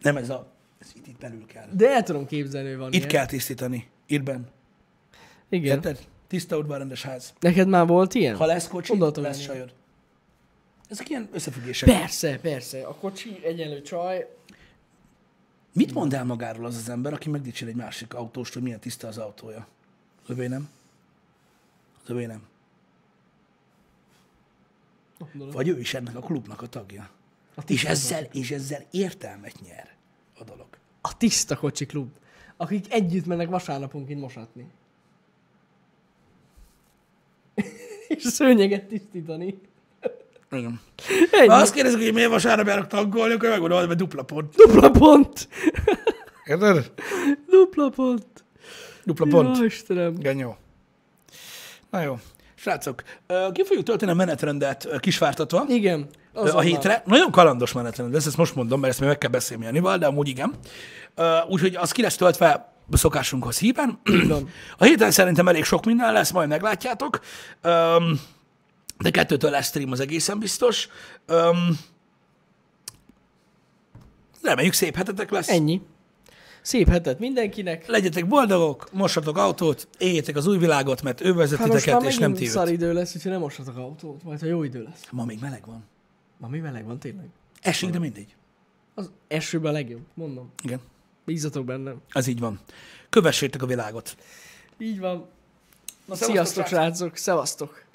Speaker 1: Nem ez a, ez itt, itt belül kell.
Speaker 2: De el tudom képzelni, hogy van
Speaker 1: Itt
Speaker 2: ilyen.
Speaker 1: kell tisztítani. Itt benn.
Speaker 2: Igen.
Speaker 1: Érted? Tiszta udvarrendes ház.
Speaker 2: Neked már volt ilyen?
Speaker 1: Ha lesz kocsi,
Speaker 2: Gondoltam,
Speaker 1: lesz
Speaker 2: hogy-
Speaker 1: sajod. Ezek ilyen összefüggések.
Speaker 2: Persze, persze. A kocsi egyenlő csaj.
Speaker 1: Mit mond el magáról az az ember, aki megdicsér egy másik autóst, hogy milyen tiszta az autója? Az övé nem? Az övé nem.
Speaker 2: Gondolom.
Speaker 1: Vagy ő is ennek a klubnak a tagja. És ezzel, és ezzel értelmet nyer a dolog.
Speaker 2: A tiszta kocsi klub. Akik együtt mennek vasárnaponként mosatni. És szőnyeget tisztítani.
Speaker 1: Igen.
Speaker 2: Ennyi.
Speaker 1: Ha azt kérdezik, hogy miért vasárnap járok taggolni, akkor megmondom, hogy mert dupla pont.
Speaker 2: Dupla pont!
Speaker 1: Érted?
Speaker 2: Dupla pont!
Speaker 1: Dupla pont.
Speaker 2: Jó, Istenem.
Speaker 1: Genyó. Na jó. Srácok, ö, ki fogjuk tölteni a menetrendet ö, kisvártatva ö,
Speaker 2: Igen.
Speaker 1: a
Speaker 2: azonnal.
Speaker 1: hétre. Nagyon kalandos menetrend lesz, ezt most mondom, mert ezt még meg kell beszélni Janival, de amúgy igen. Ö, Úgyhogy az ki lesz töltve a szokásunkhoz híven.
Speaker 2: van.
Speaker 1: A héten szerintem elég sok minden lesz, majd meglátjátok. Öm, De kettőtől lesz stream, az egészen biztos. Öm, Reméljük szép hetetek lesz.
Speaker 2: Ennyi. Szép hetet mindenkinek.
Speaker 1: Legyetek boldogok, mossatok autót, éljétek az új világot, mert ő vezet
Speaker 2: Hát most már
Speaker 1: titeket, és nem
Speaker 2: megint
Speaker 1: ti őt.
Speaker 2: szar idő lesz, úgyhogy nem mosatok autót, majd ha jó idő lesz.
Speaker 1: Ma még meleg van.
Speaker 2: Ma mi meleg van tényleg?
Speaker 1: Esik, de mindegy.
Speaker 2: Az esőben a legjobb, mondom.
Speaker 1: Igen,
Speaker 2: Bízzatok bennem.
Speaker 1: ez így van. Kövessétek a világot.
Speaker 2: Így van.
Speaker 1: Na,
Speaker 2: Sziasztok, srácok. Szevasztok.